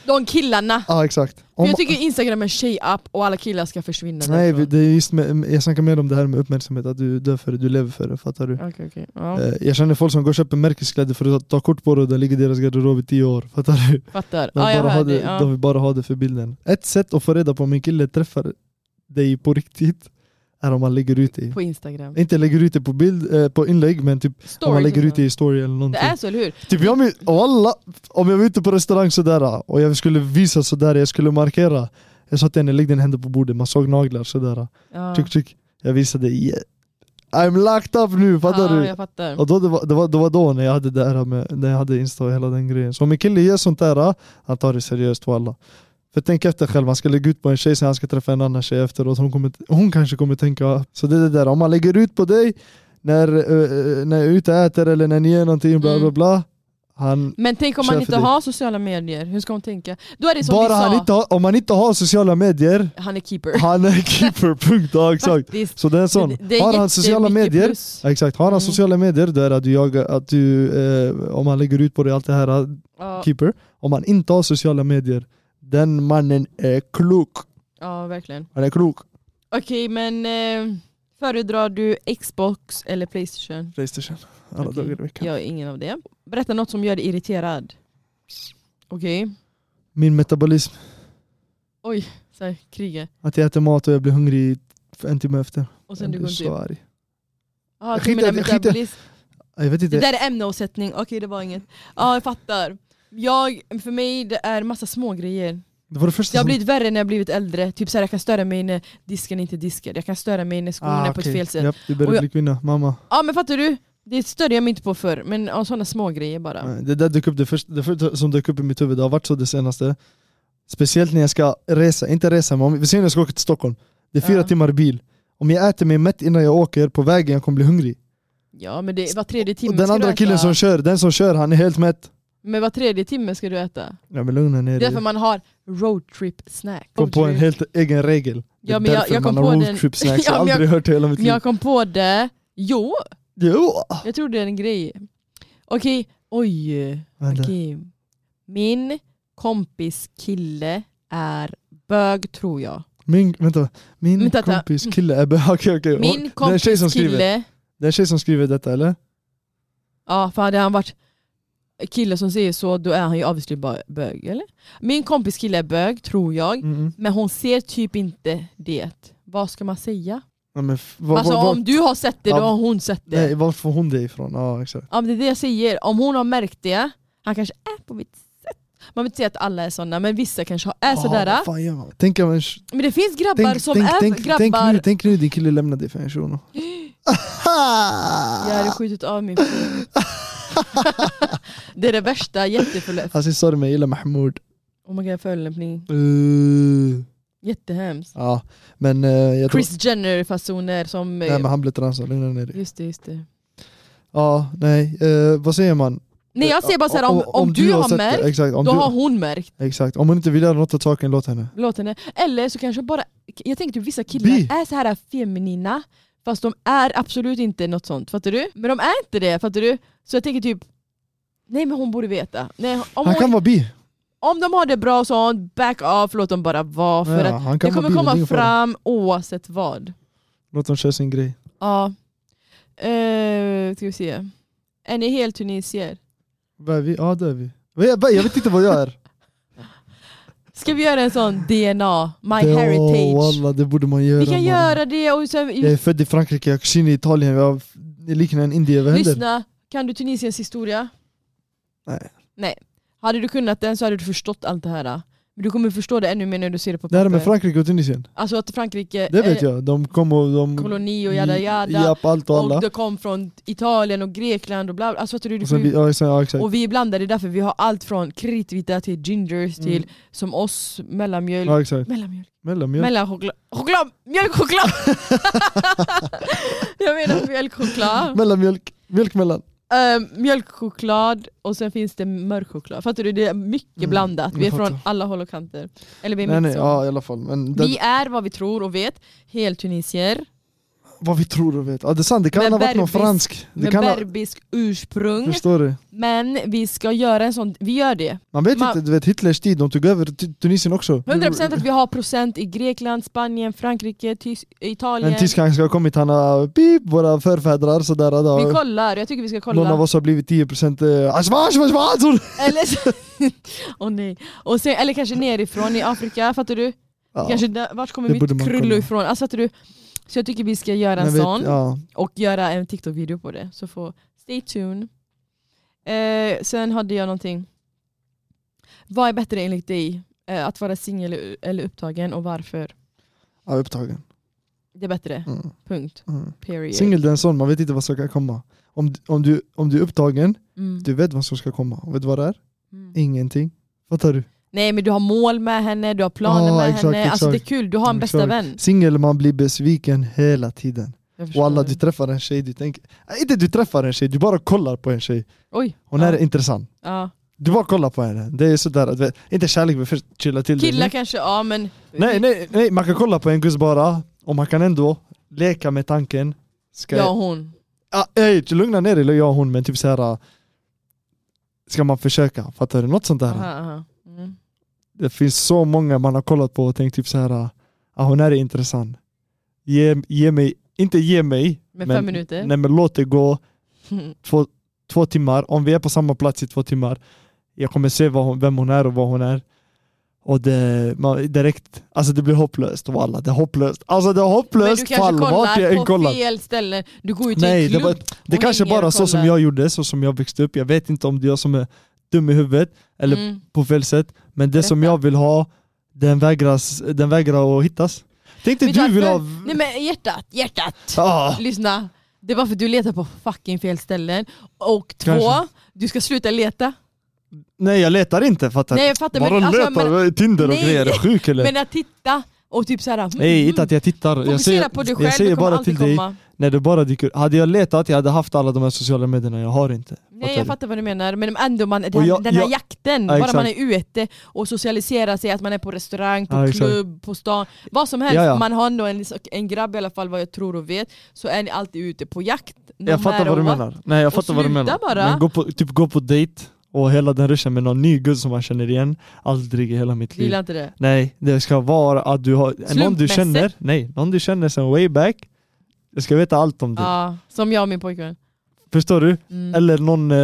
[SPEAKER 2] De killarna.
[SPEAKER 3] Ja ah, exakt.
[SPEAKER 2] För
[SPEAKER 3] Om,
[SPEAKER 2] jag tycker instagram är tjej-app och alla killar ska försvinna
[SPEAKER 3] nej vi-
[SPEAKER 2] därifrån.
[SPEAKER 3] det är just med, eh, jag snackar mer om det här med uppmärksamhet, att du dör för det, du lever för det, fattar du?
[SPEAKER 2] Okej, okej. Ja,
[SPEAKER 3] Eh, Jag känner folk som går och köper märkeskläder för att ta kort på det och där ligger i deras garderob i tio år, fattar du?
[SPEAKER 2] fattar.
[SPEAKER 3] De,
[SPEAKER 2] Ja, jag
[SPEAKER 3] bara har
[SPEAKER 2] hör
[SPEAKER 3] det,
[SPEAKER 2] dig. Ja.
[SPEAKER 3] de vill bara ha det för bilden. Ett sätt att få reda på om en kille träffar dig på riktigt är om man lägger ut det.
[SPEAKER 2] På instagram.
[SPEAKER 3] Inte lägger ut det på, bild, eh, på inlägg men typ om man
[SPEAKER 2] Stories
[SPEAKER 3] lägger
[SPEAKER 2] och
[SPEAKER 3] ut det i story eller
[SPEAKER 2] Det
[SPEAKER 3] någonting.
[SPEAKER 2] är så, eller hur?
[SPEAKER 3] Typ jag, min- Walla, om jag var ute på restaurang sådär och jag skulle visa sådär, jag skulle markera. Jag sa till henne, lägg din hand på bordet, man såg naglar sådär.
[SPEAKER 2] Ja.
[SPEAKER 3] Tryck, tryck. Jag visade, yeah. I'm locked up nu, fattar
[SPEAKER 2] ja,
[SPEAKER 3] du?
[SPEAKER 2] Jag fattar.
[SPEAKER 3] Och då, det, var, det, var, det var då när jag hade det här med, när jag hade Insta och hela den grejen. Så om en kille gör sånt där, han tar det seriöst alla. För tänk efter själv, han ska lägga ut på en tjej sen han ska träffa en annan tjej efteråt. Hon, kommer, hon kanske kommer tänka, så det är det där, om man lägger ut på dig när, eh, när jag är ute och äter eller när ni gör någonting, bla
[SPEAKER 2] Mm.
[SPEAKER 3] bla bla. Han,
[SPEAKER 2] Men tänk om
[SPEAKER 3] Kör
[SPEAKER 2] man
[SPEAKER 3] för
[SPEAKER 2] inte
[SPEAKER 3] dig.
[SPEAKER 2] har sociala medier, hur ska hon tänka? Då är det som vi
[SPEAKER 3] bara
[SPEAKER 2] sa,
[SPEAKER 3] han inte, har- om han inte har sociala medier,
[SPEAKER 2] han är keeper. [laughs]
[SPEAKER 3] han är keeper, punkt. Ja, [laughs] exakt.
[SPEAKER 2] Faktiskt.
[SPEAKER 3] Så det är en sån.
[SPEAKER 2] Det- det är
[SPEAKER 3] Har han sociala
[SPEAKER 2] jättemycket
[SPEAKER 3] medier,
[SPEAKER 2] plus.
[SPEAKER 3] Ja, exakt, har han
[SPEAKER 2] Mm.
[SPEAKER 3] sociala medier då är det att du, jagar, att du eh, om han lägger ut på dig allt det här, eh,
[SPEAKER 2] Ja,
[SPEAKER 3] keeper. Om han inte har sociala medier, den mannen är klok.
[SPEAKER 2] ja, verkligen.
[SPEAKER 3] Han är klok.
[SPEAKER 2] Okej, men eh, föredrar du Xbox eller Playstation?
[SPEAKER 3] Playstation, alla
[SPEAKER 2] Okej.
[SPEAKER 3] dagar i veckan.
[SPEAKER 2] Jag är ingen av det. Berätta något som gör dig irriterad. Okej,
[SPEAKER 3] Min metabolism,
[SPEAKER 2] så här, kriget.
[SPEAKER 3] att jag äter mat och jag blir hungrig en timme efter.
[SPEAKER 2] Och sen
[SPEAKER 3] Jag
[SPEAKER 2] du
[SPEAKER 3] blir
[SPEAKER 2] går inte
[SPEAKER 3] så
[SPEAKER 2] upp.
[SPEAKER 3] arg.
[SPEAKER 2] Ah,
[SPEAKER 3] Jag
[SPEAKER 2] du menar
[SPEAKER 3] skiter- jag skiter-
[SPEAKER 2] metabolism.
[SPEAKER 3] Jag vet
[SPEAKER 2] Det
[SPEAKER 3] inte,
[SPEAKER 2] där är ämneomsättning, okej det var inget. Ja, jag fattar. Jag, för mig det är massa små grejer.
[SPEAKER 3] det var det första
[SPEAKER 2] Det har
[SPEAKER 3] som-
[SPEAKER 2] blivit värre när jag blivit äldre, typ såhär, jag kan störa mig när disken inte är diskad, jag kan störa mig när skorna är på
[SPEAKER 3] Ah, okej.
[SPEAKER 2] ett fel sätt. Ja
[SPEAKER 3] Japp, du börjar
[SPEAKER 2] Och jag-
[SPEAKER 3] bli kvinna, mamma.
[SPEAKER 2] men fattar du? Det störde jag mig inte på förr, men ja, sådana små grejer bara.
[SPEAKER 3] Nej, Det där dök upp, det första det första som dök upp i mitt huvud, det har varit så det senaste. Speciellt när jag ska resa, inte resa men om, vi säger när jag ska åka till Stockholm, det är fyra
[SPEAKER 2] Ja.
[SPEAKER 3] timmar i bil. Om jag äter mig mätt innan jag åker, på vägen jag kommer bli hungrig.
[SPEAKER 2] Ja men det, var tredje timme
[SPEAKER 3] Och den
[SPEAKER 2] ska du
[SPEAKER 3] andra
[SPEAKER 2] äta.
[SPEAKER 3] killen som kör, den som kör han är helt mätt.
[SPEAKER 2] Men var tredje timme ska du äta.
[SPEAKER 3] Ja men lugna
[SPEAKER 2] Det
[SPEAKER 3] ner
[SPEAKER 2] är
[SPEAKER 3] dig.
[SPEAKER 2] därför man har roadtrip snack.
[SPEAKER 3] kom på en
[SPEAKER 2] Roadtrip.
[SPEAKER 3] helt egen regel. Det är
[SPEAKER 2] Ja, men jag-
[SPEAKER 3] därför
[SPEAKER 2] jag kom
[SPEAKER 3] man har
[SPEAKER 2] på den- [laughs]
[SPEAKER 3] roadtrip snacks,
[SPEAKER 2] Ja,
[SPEAKER 3] jag har
[SPEAKER 2] men jag-
[SPEAKER 3] aldrig hört det i hela mitt
[SPEAKER 2] Men
[SPEAKER 3] liv.
[SPEAKER 2] jag kom på det, jo,
[SPEAKER 3] Jo! ah,
[SPEAKER 2] jag tror det är en grej. Okej, oj.
[SPEAKER 3] Vänta.
[SPEAKER 2] Okej. Min kompis kille är bög tror jag.
[SPEAKER 3] Min, vänta, min
[SPEAKER 2] Vänta, vänta.
[SPEAKER 3] kompis kille är [laughs] bög, okej okej.
[SPEAKER 2] Min
[SPEAKER 3] Det är en tjej som
[SPEAKER 2] kompis
[SPEAKER 3] skriver,
[SPEAKER 2] kille,
[SPEAKER 3] det är en tjej som skriver detta eller?
[SPEAKER 2] ja för hade han varit kille som säger så då är han ju obviously bö- bög eller? Min kompis kille är bög tror jag,
[SPEAKER 3] Mm.
[SPEAKER 2] men hon ser typ inte det. Vad ska man säga?
[SPEAKER 3] Ja, men f- vad-
[SPEAKER 2] alltså
[SPEAKER 3] vad- vad-
[SPEAKER 2] om du har sett det då
[SPEAKER 3] Ja,
[SPEAKER 2] har hon sett det.
[SPEAKER 3] Nej, var får hon det ifrån? Ja, exakt.
[SPEAKER 2] Ja, men det är det jag säger, om hon har märkt det, han kanske är på mitt sätt. Man vill inte säga att alla är sådana, men vissa kanske har- är sådär.
[SPEAKER 3] Ah, vad fan gör man? tänk, om en, sh-
[SPEAKER 2] Men det finns grabbar
[SPEAKER 3] tänk,
[SPEAKER 2] som
[SPEAKER 3] tänk,
[SPEAKER 2] är
[SPEAKER 3] tänk,
[SPEAKER 2] grabbar...
[SPEAKER 3] tänk, nu, tänk nu, din kille lämnar dig för en shuno.
[SPEAKER 2] [gasps] Jag hade skjutit av min
[SPEAKER 3] [laughs]
[SPEAKER 2] fru. det är det värsta, jätteförlöst.
[SPEAKER 3] Alltså sorry men jag gillar Mahmoud.
[SPEAKER 2] Oh my god, förolämpning.
[SPEAKER 3] Uh,
[SPEAKER 2] Jättehemskt.
[SPEAKER 3] ja, men eh, jag tror...
[SPEAKER 2] Chris Jenner-fasoner som... eh,
[SPEAKER 3] Nej men han blev transad, lugna ner dig.
[SPEAKER 2] Just det, just det.
[SPEAKER 3] Ja, nej, eh, vad säger man? Eh,
[SPEAKER 2] Nej jag säger bara såhär, om, om, du, har
[SPEAKER 3] sett det,
[SPEAKER 2] märkt,
[SPEAKER 3] exakt, om
[SPEAKER 2] då
[SPEAKER 3] du,
[SPEAKER 2] har hon märkt.
[SPEAKER 3] exakt, om hon inte vill göra något åt saken, låt henne.
[SPEAKER 2] Låt henne. Eller så kanske bara, jag tänker typ vissa killar
[SPEAKER 3] Bi.
[SPEAKER 2] är så här feminina, fast de är absolut inte något sånt, fattar du? Men de är inte det, fattar du? Så jag tänker typ, nej men hon borde veta. Nej, om,
[SPEAKER 3] Han
[SPEAKER 2] hon,
[SPEAKER 3] kan vara bi.
[SPEAKER 2] om de har det bra och sånt, back off, låt dem bara vara. För
[SPEAKER 3] Ja,
[SPEAKER 2] att
[SPEAKER 3] han
[SPEAKER 2] det
[SPEAKER 3] kan vara
[SPEAKER 2] kommer
[SPEAKER 3] bi, det är
[SPEAKER 2] komma
[SPEAKER 3] ingen fara.
[SPEAKER 2] fram oavsett vad.
[SPEAKER 3] Låt dem köra sin grej.
[SPEAKER 2] Ja. Eh, ska vi se. Är ni helt tunisier?
[SPEAKER 3] Vad är vi? Ja det är vi. Vad är- vad- Jag vet inte vad jag är.
[SPEAKER 2] Ska vi göra en sån DNA, my
[SPEAKER 3] Det- åh,
[SPEAKER 2] heritage?
[SPEAKER 3] wallah, det borde man göra.
[SPEAKER 2] Vi kan
[SPEAKER 3] mannen.
[SPEAKER 2] göra det och så,
[SPEAKER 3] Jag är född i Frankrike, jag är i Italien, jag liknar en indier, vad händer?
[SPEAKER 2] Lyssna, kan du Tunisiens historia?
[SPEAKER 3] Nej.
[SPEAKER 2] Nej. Hade du kunnat den så hade du förstått allt det här. Men du kommer förstå det ännu mer när du ser det på
[SPEAKER 3] Det här med
[SPEAKER 2] papper.
[SPEAKER 3] Frankrike och Tunisien,
[SPEAKER 2] Alltså att Frankrike
[SPEAKER 3] det vet
[SPEAKER 2] är
[SPEAKER 3] jag. De kom och de...
[SPEAKER 2] Eh, koloni och jada jada.
[SPEAKER 3] Japp, allt och alla.
[SPEAKER 2] Och det kom från Italien och Grekland och bla bla. Alltså, fattar du, du
[SPEAKER 3] Och,
[SPEAKER 2] får
[SPEAKER 3] sen,
[SPEAKER 2] ju-
[SPEAKER 3] vi- ja, sen, ja, exakt.
[SPEAKER 2] och vi är blandade därför vi har allt från kritvita till gingers
[SPEAKER 3] Mm.
[SPEAKER 2] till som oss, mellanmjöl.
[SPEAKER 3] Ja, exakt.
[SPEAKER 2] Mellanmjöl?
[SPEAKER 3] Mellanmjölk.
[SPEAKER 2] Mellanchoklad? Choklad!
[SPEAKER 3] [laughs]
[SPEAKER 2] Mjölkchoklad! jag menar mjölkchoklad.
[SPEAKER 3] Mellanmjölk. Mjölk mellan.
[SPEAKER 2] Ehm, mjölkchoklad och sen finns det mörk choklad. Fattar du? Det är mycket
[SPEAKER 3] Mm,
[SPEAKER 2] blandat. Vi är
[SPEAKER 3] jag fattar.
[SPEAKER 2] från alla håll och kanter. Eller vi är
[SPEAKER 3] Nej, nej,
[SPEAKER 2] mittzon.
[SPEAKER 3] ja, i alla fall. Men det,
[SPEAKER 2] Vi är vad vi tror och vet. Helt tunisier.
[SPEAKER 3] vad vi tror och vet. Ja, det är sant, det kan
[SPEAKER 2] Med
[SPEAKER 3] ha varit någon
[SPEAKER 2] berbis.
[SPEAKER 3] fransk. Det
[SPEAKER 2] Med
[SPEAKER 3] kan ha,
[SPEAKER 2] berbisk ursprung.
[SPEAKER 3] förstår du?
[SPEAKER 2] Men vi ska göra en sån, vi gör det.
[SPEAKER 3] Man vet
[SPEAKER 2] Man-
[SPEAKER 3] inte, du vet Hitlers tid, de tog över Tu- Tunisien också.
[SPEAKER 2] 100% att vi har procent i Grekland, Spanien, Frankrike, Tys- Italien.
[SPEAKER 3] En tysk han ska ha kommit, han har pip, våra förfäder sådär. Det
[SPEAKER 2] Vi
[SPEAKER 3] har,
[SPEAKER 2] kollar, jag tycker vi ska
[SPEAKER 3] någon av
[SPEAKER 2] kolla.
[SPEAKER 3] oss har blivit 10% eh, ashma, ashma, ashma, ashma.
[SPEAKER 2] Eller, så- [laughs] Åh nej. Och sen, eller kanske nerifrån i Afrika, fattar du?
[SPEAKER 3] Ja,
[SPEAKER 2] Kanske där, vart kommer
[SPEAKER 3] Det borde
[SPEAKER 2] mitt
[SPEAKER 3] man
[SPEAKER 2] krullo
[SPEAKER 3] kolla.
[SPEAKER 2] ifrån? Alltså, fattar du? Så jag tycker vi ska göra en
[SPEAKER 3] men vet-
[SPEAKER 2] sån
[SPEAKER 3] Ja.
[SPEAKER 2] och göra en TikTok-video på det. Så får stay tuned. Eh, sen hade jag någonting. Vad är bättre enligt dig? Eh, att vara singel eller upptagen och varför?
[SPEAKER 3] Ja, upptagen.
[SPEAKER 2] Det är bättre.
[SPEAKER 3] Mm,
[SPEAKER 2] Punkt.
[SPEAKER 3] mm.
[SPEAKER 2] Period.
[SPEAKER 3] Singel det är en sån, man vet inte vad som ska komma. Om, om, du, om du är upptagen,
[SPEAKER 2] Mm.
[SPEAKER 3] du vet vad som ska komma. Och Vet du vad det är?
[SPEAKER 2] Mm.
[SPEAKER 3] Ingenting. Fattar du?
[SPEAKER 2] Nej men du har mål med henne, du har planer
[SPEAKER 3] Ja,
[SPEAKER 2] med
[SPEAKER 3] Ah, exakt,
[SPEAKER 2] henne. Alltså det är
[SPEAKER 3] exakt.
[SPEAKER 2] kul, du har en bästa
[SPEAKER 3] Exakt.
[SPEAKER 2] vän.
[SPEAKER 3] Singel, man blir besviken hela tiden.
[SPEAKER 2] Jag förstår
[SPEAKER 3] Och alla du
[SPEAKER 2] det.
[SPEAKER 3] träffar en tjej, du tänker... Nej, Inte du träffar en tjej, du bara kollar på en tjej.
[SPEAKER 2] Oj.
[SPEAKER 3] Hon
[SPEAKER 2] ja.
[SPEAKER 3] är intressant.
[SPEAKER 2] ja.
[SPEAKER 3] Du bara kollar på henne. Det är sådär, att, vet- inte kärlek, men först chilla till
[SPEAKER 2] Killar
[SPEAKER 3] dig.
[SPEAKER 2] kanske, ja men...
[SPEAKER 3] Nej, nej, nej, man kan kolla på en guzz bara, och man kan ändå leka med tanken. Ska
[SPEAKER 2] Ja hon.
[SPEAKER 3] Ah, ey, lugna ner dig, jag och hon, men typ såhär... Ska man försöka? Fattar du? Något sånt där.
[SPEAKER 2] Aha, aha. Mm.
[SPEAKER 3] Det finns så många man har kollat på och tänkt typ såhär, ah, hon här är intressant. Ge, ge mig, inte ge mig.
[SPEAKER 2] Med fem minuter.
[SPEAKER 3] Nej men låt det gå två, två timmar, om vi är på samma plats i två timmar, jag kommer se vad hon, vem hon är och vad hon är. Och det, man, direkt, alltså det blir hopplöst walla, det är hopplöst. Alltså det är
[SPEAKER 2] Men du
[SPEAKER 3] hopplöst
[SPEAKER 2] kanske
[SPEAKER 3] fall, vart jag
[SPEAKER 2] kollar
[SPEAKER 3] än
[SPEAKER 2] på
[SPEAKER 3] kollar.
[SPEAKER 2] fel ställen, du går ju till
[SPEAKER 3] Nej,
[SPEAKER 2] en
[SPEAKER 3] det,
[SPEAKER 2] klubb.
[SPEAKER 3] var, det
[SPEAKER 2] och
[SPEAKER 3] kanske
[SPEAKER 2] hänger
[SPEAKER 3] bara
[SPEAKER 2] och
[SPEAKER 3] så som
[SPEAKER 2] kollar.
[SPEAKER 3] jag gjorde, så som jag växte upp. Jag vet inte om det är jag som är dum i huvudet eller
[SPEAKER 2] Mm.
[SPEAKER 3] på fel sätt, men det som
[SPEAKER 2] Berätta.
[SPEAKER 3] jag vill ha, den, vägras, den vägrar att hittas. Tänk dig
[SPEAKER 2] Vet du
[SPEAKER 3] du vill ha...
[SPEAKER 2] varför? Nej men hjärtat, hjärtat!
[SPEAKER 3] Ah,
[SPEAKER 2] Lyssna. Det var för att du letar på fucking fel ställen. Och två,
[SPEAKER 3] Kanske.
[SPEAKER 2] du ska sluta leta.
[SPEAKER 3] nej jag letar inte fattar
[SPEAKER 2] Nej jag fattar
[SPEAKER 3] Bara
[SPEAKER 2] men, alltså,
[SPEAKER 3] letar,
[SPEAKER 2] men,
[SPEAKER 3] Tinder och
[SPEAKER 2] Nej.
[SPEAKER 3] grejer, är du sjuk eller?
[SPEAKER 2] men att titta och typ såhär... mm,
[SPEAKER 3] Nej, inte
[SPEAKER 2] mm.
[SPEAKER 3] att jag tittar. Jag
[SPEAKER 2] Fokusera
[SPEAKER 3] säger,
[SPEAKER 2] på dig själv,
[SPEAKER 3] jag säger
[SPEAKER 2] du kommer
[SPEAKER 3] bara till
[SPEAKER 2] alltid
[SPEAKER 3] dig,
[SPEAKER 2] komma.
[SPEAKER 3] när det bara dyker Hade jag letat, jag hade haft alla de här sociala medierna, jag har inte.
[SPEAKER 2] Nej jag
[SPEAKER 3] du?
[SPEAKER 2] fattar vad du menar, men ändå man, den,
[SPEAKER 3] Och
[SPEAKER 2] här-
[SPEAKER 3] jag-
[SPEAKER 2] den här
[SPEAKER 3] jag-
[SPEAKER 2] jakten,
[SPEAKER 3] Ja,
[SPEAKER 2] bara
[SPEAKER 3] exakt.
[SPEAKER 2] man är ute och socialiserar sig, att man är på restaurang, på
[SPEAKER 3] Ja, exakt.
[SPEAKER 2] klubb, på stan, vad som helst.
[SPEAKER 3] Ja, ja.
[SPEAKER 2] Man har ändå en, liksom, en grabb i alla fall vad jag tror och vet, så är ni alltid ute på jakt. No
[SPEAKER 3] Jag fattar
[SPEAKER 2] matter
[SPEAKER 3] vad du
[SPEAKER 2] what.
[SPEAKER 3] menar. Nej jag
[SPEAKER 2] Och
[SPEAKER 3] fattar vad du
[SPEAKER 2] sluta
[SPEAKER 3] menar.
[SPEAKER 2] bara.
[SPEAKER 3] Men gå på, typ gå på dejt och hela den ruschen med någon ny gud som man känner igen, aldrig i hela mitt
[SPEAKER 2] Du gillar
[SPEAKER 3] liv.
[SPEAKER 2] inte det?
[SPEAKER 3] Nej, det ska vara att du har någon du
[SPEAKER 2] Slumpmässigt.
[SPEAKER 3] känner, nej, någon du känner sen way back, jag ska veta allt om dig.
[SPEAKER 2] Ja, som jag och min pojkvän.
[SPEAKER 3] Förstår du?
[SPEAKER 2] Mm.
[SPEAKER 3] Eller någon eh,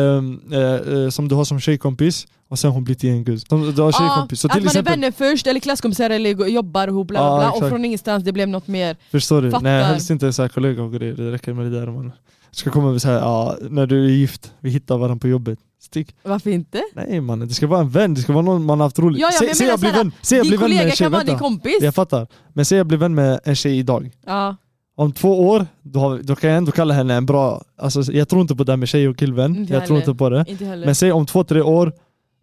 [SPEAKER 3] eh, eh, som du har som tjejkompis och sen hon blir till en gud. Som du har tjejkompis. Så
[SPEAKER 2] att
[SPEAKER 3] till
[SPEAKER 2] man är
[SPEAKER 3] exempel,
[SPEAKER 2] vänner först, eller klasskompisar, eller går- jobbar ihop, bla bla
[SPEAKER 3] Ja,
[SPEAKER 2] bla, och
[SPEAKER 3] exakt.
[SPEAKER 2] från ingenstans det blev något mer.
[SPEAKER 3] Förstår du?
[SPEAKER 2] Fattar.
[SPEAKER 3] Nej helst inte så här kollegor och grejer, det räcker med det där om man ska komma med så här, ja när du är gift, vi hittar varandra på jobbet. Stick.
[SPEAKER 2] Varför inte?
[SPEAKER 3] Nej mannen, det ska vara en vän, det ska vara någon man har haft roligt.
[SPEAKER 2] Ja, ja, men
[SPEAKER 3] se,
[SPEAKER 2] jag
[SPEAKER 3] se
[SPEAKER 2] menar
[SPEAKER 3] jag blir
[SPEAKER 2] så här,
[SPEAKER 3] vän, se jag
[SPEAKER 2] din
[SPEAKER 3] blir vän med en
[SPEAKER 2] kollega
[SPEAKER 3] tjej,
[SPEAKER 2] kan vara din
[SPEAKER 3] vänta.
[SPEAKER 2] kompis.
[SPEAKER 3] Jag fattar. Men se jag blir vän med en tjej idag.
[SPEAKER 2] Ja.
[SPEAKER 3] Om två år, då, har, vi- då kan jag ändå kalla henne en bra, alltså jag tror inte på det här med tjej och killvän,
[SPEAKER 2] Inte
[SPEAKER 3] jag tror
[SPEAKER 2] heller.
[SPEAKER 3] inte på det.
[SPEAKER 2] Inte heller.
[SPEAKER 3] Men säg om två, tre år,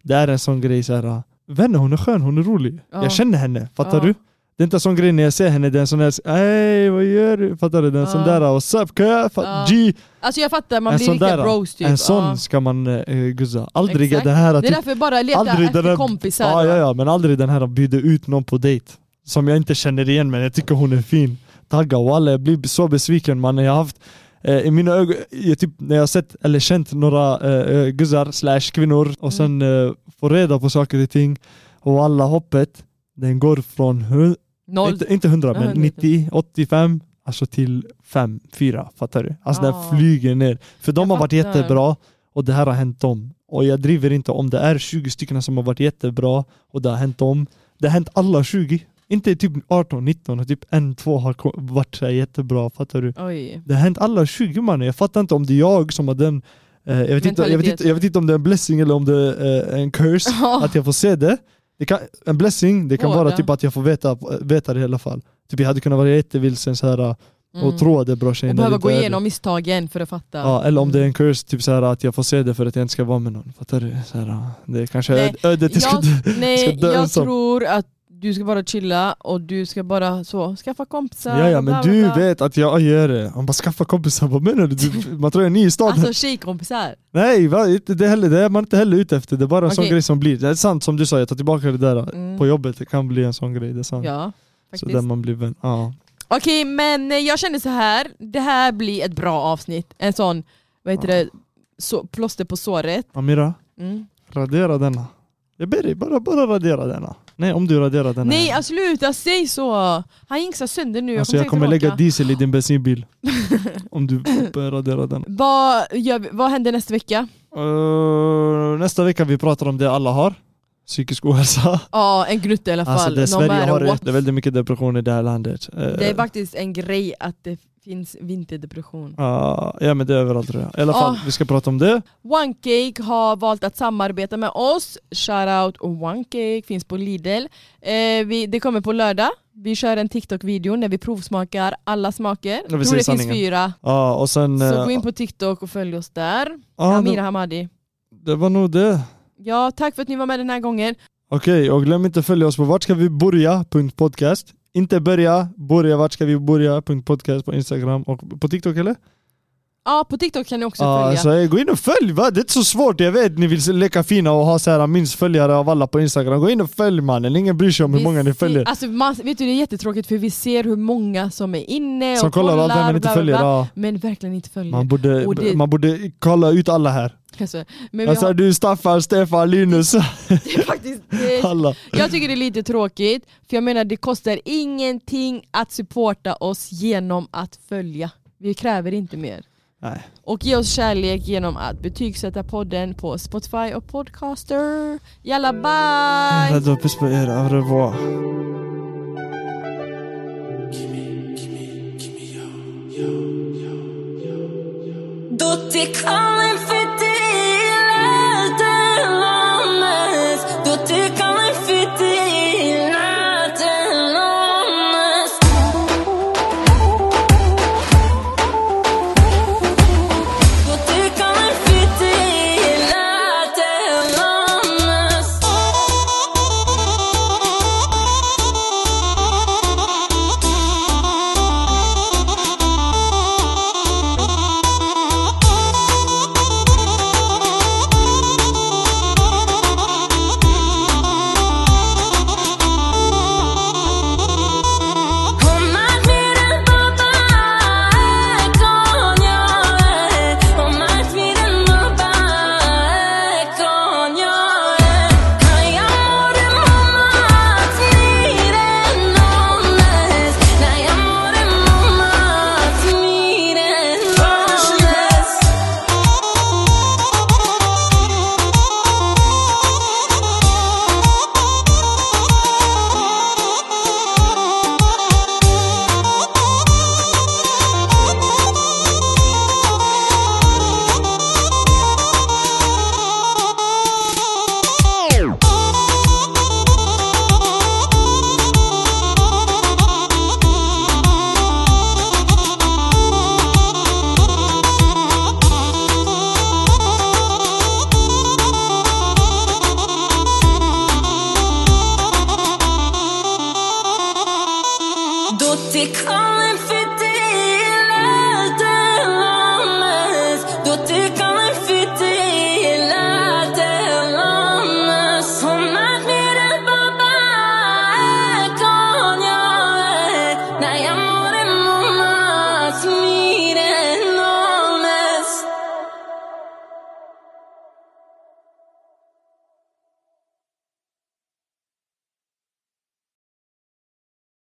[SPEAKER 3] det är en sån grej så här. Vänner, hon är skön, hon är rolig.
[SPEAKER 2] Ja.
[SPEAKER 3] Jag känner henne, fattar
[SPEAKER 2] Ja.
[SPEAKER 3] du? Det är inte en sån grej när jag ser henne, det är en sån där Hej vad gör du? Fattar du? Det är en sån
[SPEAKER 2] Ja.
[SPEAKER 3] där what's up kö?
[SPEAKER 2] Ja.
[SPEAKER 3] Fa- G.
[SPEAKER 2] alltså jag fattar, man
[SPEAKER 3] en
[SPEAKER 2] blir
[SPEAKER 3] sån
[SPEAKER 2] riktiga
[SPEAKER 3] där,
[SPEAKER 2] bros typ.
[SPEAKER 3] En sån
[SPEAKER 2] Ja.
[SPEAKER 3] ska man eh, guzza. Aldrig
[SPEAKER 2] Exakt.
[SPEAKER 3] den här typ-
[SPEAKER 2] Det är därför bara leta
[SPEAKER 3] aldrig
[SPEAKER 2] efter
[SPEAKER 3] den där-
[SPEAKER 2] kompisar.
[SPEAKER 3] ja, ja, ja, men aldrig den här att bjuda ut någon på dejt. Som jag inte känner igen men jag tycker hon är fin. Tagga walla, jag blir så besviken mannen. Jag har haft eh, i mina ögon, jag typ, när jag har sett eller känt några eh, eh, guzzar slash kvinnor och sen eh, får reda på saker och ting och alla hoppet, den går från, hu-
[SPEAKER 2] Noll.
[SPEAKER 3] inte, inte 100
[SPEAKER 2] Ja,
[SPEAKER 3] men
[SPEAKER 2] 100.
[SPEAKER 3] 90, 85, alltså till 5, 4, fattar du? Alltså
[SPEAKER 2] Ja.
[SPEAKER 3] den flyger ner. För de
[SPEAKER 2] Jag
[SPEAKER 3] har varit
[SPEAKER 2] fattar.
[SPEAKER 3] jättebra och det här har hänt dem. Och jag driver inte om det är 20 stycken som har varit jättebra och det har hänt dem. Det har hänt alla 20. Inte typ 18, 19 och typ en, två har ko- varit så här jättebra, fattar du?
[SPEAKER 2] Oj.
[SPEAKER 3] Det har hänt alla 20 man. Jag fattar inte om det är jag som har den eh, jag, vet inte, jag, vet
[SPEAKER 2] Mentalitet.
[SPEAKER 3] inte, jag vet inte om det är en blessing eller om det är eh, en curse att jag får se det. det kan, en blessing, det kan
[SPEAKER 2] Båda.
[SPEAKER 3] vara typ att jag får veta, veta det i alla fall. Typ jag hade kunnat vara jättevilsen så här, och
[SPEAKER 2] [laughs] Mm.
[SPEAKER 3] tro att det är bra tjejer.
[SPEAKER 2] Och
[SPEAKER 3] när det
[SPEAKER 2] behöva
[SPEAKER 3] inte
[SPEAKER 2] gå
[SPEAKER 3] är det.
[SPEAKER 2] igenom Mm. misstagen för att fatta.
[SPEAKER 3] Ja, eller om det är en curse, typ så här, att jag får se det för att jag inte ska vara med någon. Fattar du? Så här, det är kanske
[SPEAKER 2] Nej,
[SPEAKER 3] öd- ödet jag ska
[SPEAKER 2] jag,
[SPEAKER 3] dö.
[SPEAKER 2] nej,
[SPEAKER 3] ska dö
[SPEAKER 2] jag
[SPEAKER 3] ensam.
[SPEAKER 2] tror att du ska bara chilla och du ska bara så, skaffa kompisar.
[SPEAKER 3] Ja, ja,
[SPEAKER 2] och
[SPEAKER 3] men
[SPEAKER 2] bla,
[SPEAKER 3] du
[SPEAKER 2] bla, bla.
[SPEAKER 3] vet att jag gör det. Han bara skaffa kompisar, vad menar
[SPEAKER 2] [laughs]
[SPEAKER 3] du? du? Man tror jag är ny i staden.
[SPEAKER 2] Alltså tjejkompisar.
[SPEAKER 3] Nej, va? Inte det, heller, det är man inte heller ute efter. Det är bara en sån
[SPEAKER 2] Okej.
[SPEAKER 3] grej som blir. Det är sant som du sa, jag tar tillbaka det där.
[SPEAKER 2] Mm.
[SPEAKER 3] På jobbet, det kan bli en sån grej. Det är sant.
[SPEAKER 2] Ja,
[SPEAKER 3] så
[SPEAKER 2] faktiskt.
[SPEAKER 3] där man blir vän. Ja.
[SPEAKER 2] Okej men eh, jag känner så här. det här blir ett bra avsnitt. En sån, vad heter det, så, plåster på såret.
[SPEAKER 3] Amira,
[SPEAKER 2] Mm.
[SPEAKER 3] radera denna. Jag ber dig, bara, bara radera denna. Nej, om du raderar denna.
[SPEAKER 2] Nej alltså, sluta, säg så! Han jinxar sönder nu,
[SPEAKER 3] alltså, jag
[SPEAKER 2] säkert
[SPEAKER 3] kommer lägga
[SPEAKER 2] tillbaka.
[SPEAKER 3] diesel i
[SPEAKER 2] [laughs]
[SPEAKER 3] din bensinbil. om du börjar radera denna.
[SPEAKER 2] Vad, gör vi, vad händer nästa vecka?
[SPEAKER 3] Eh, nästa vecka vi pratar om det alla har. Psykisk ohälsa.
[SPEAKER 2] Ja, en grutt i alla fall.
[SPEAKER 3] Alltså det
[SPEAKER 2] Någon
[SPEAKER 3] Sverige
[SPEAKER 2] bär
[SPEAKER 3] har
[SPEAKER 2] åt.
[SPEAKER 3] det, det är väldigt mycket depression i det här landet. Eh,
[SPEAKER 2] Det är faktiskt en grej att det finns vinterdepression.
[SPEAKER 3] ah, ja men det är överallt tror jag. I alla fall,
[SPEAKER 2] Ah.
[SPEAKER 3] vi ska prata om det.
[SPEAKER 2] One Cake har valt att samarbeta med oss. Shoutout One Cake, finns på Lidl. Eh, vi, det kommer på lördag. Vi kör en TikTok-video när vi provsmakar alla smaker. Jag
[SPEAKER 3] vi
[SPEAKER 2] tror
[SPEAKER 3] säger
[SPEAKER 2] det finns
[SPEAKER 3] sanningen.
[SPEAKER 2] fyra.
[SPEAKER 3] Ja och sen...
[SPEAKER 2] Så
[SPEAKER 3] eh,
[SPEAKER 2] gå in på TikTok och följ oss där.
[SPEAKER 3] ah,
[SPEAKER 2] Amira
[SPEAKER 3] det,
[SPEAKER 2] Hamadi.
[SPEAKER 3] det var nog det.
[SPEAKER 2] Ja, tack för att ni var med den här gången.
[SPEAKER 3] Okej, och glöm inte att följa oss på vart ska vi börja? punkt podcast. Inte börja, börja vart ska vi börja? punkt podcast på Instagram och på TikTok eller?
[SPEAKER 2] Ja, på TikTok kan ni också
[SPEAKER 3] Ja,
[SPEAKER 2] följa.
[SPEAKER 3] så eh, gå in och följ va? Det är inte så svårt. Jag vet ni vill leka fina och ha så här minst följare av alla på Instagram. Gå in och följ mannen. Ingen bryr sig om hur
[SPEAKER 2] Vi
[SPEAKER 3] många ni
[SPEAKER 2] ser-
[SPEAKER 3] följer.
[SPEAKER 2] Alltså, man, vet du, det är jättetråkigt för vi ser hur många som är inne och
[SPEAKER 3] Som kollar och allt det här men inte
[SPEAKER 2] bla, bla,
[SPEAKER 3] följer.
[SPEAKER 2] bla,
[SPEAKER 3] Ja.
[SPEAKER 2] Men verkligen inte följer.
[SPEAKER 3] Man borde,
[SPEAKER 2] Och det-
[SPEAKER 3] man borde kolla ut alla här.
[SPEAKER 2] Alltså, men vi
[SPEAKER 3] Alltså
[SPEAKER 2] har,
[SPEAKER 3] du, Staffan, Stefan, Linus,
[SPEAKER 2] det är [laughs] faktiskt, det,
[SPEAKER 3] alla.
[SPEAKER 2] jag tycker det är lite tråkigt, för jag menar det kostar ingenting att supporta oss genom att följa. Vi kräver inte mer.
[SPEAKER 3] Nej.
[SPEAKER 2] Och ge oss kärlek genom att betygsätta podden på Spotify och Podcaster. Jalla bye!
[SPEAKER 3] Då puss på er, au revoir.
[SPEAKER 4] Tutti callen fitile dell'omnes Tutti callen fitile dell'omnes Tutti callen fitile Om man vill baba är konjare Om man vill baba är konjare Kan jag må det mamma till en omnes När jag må det mamma till en omnes Då det kom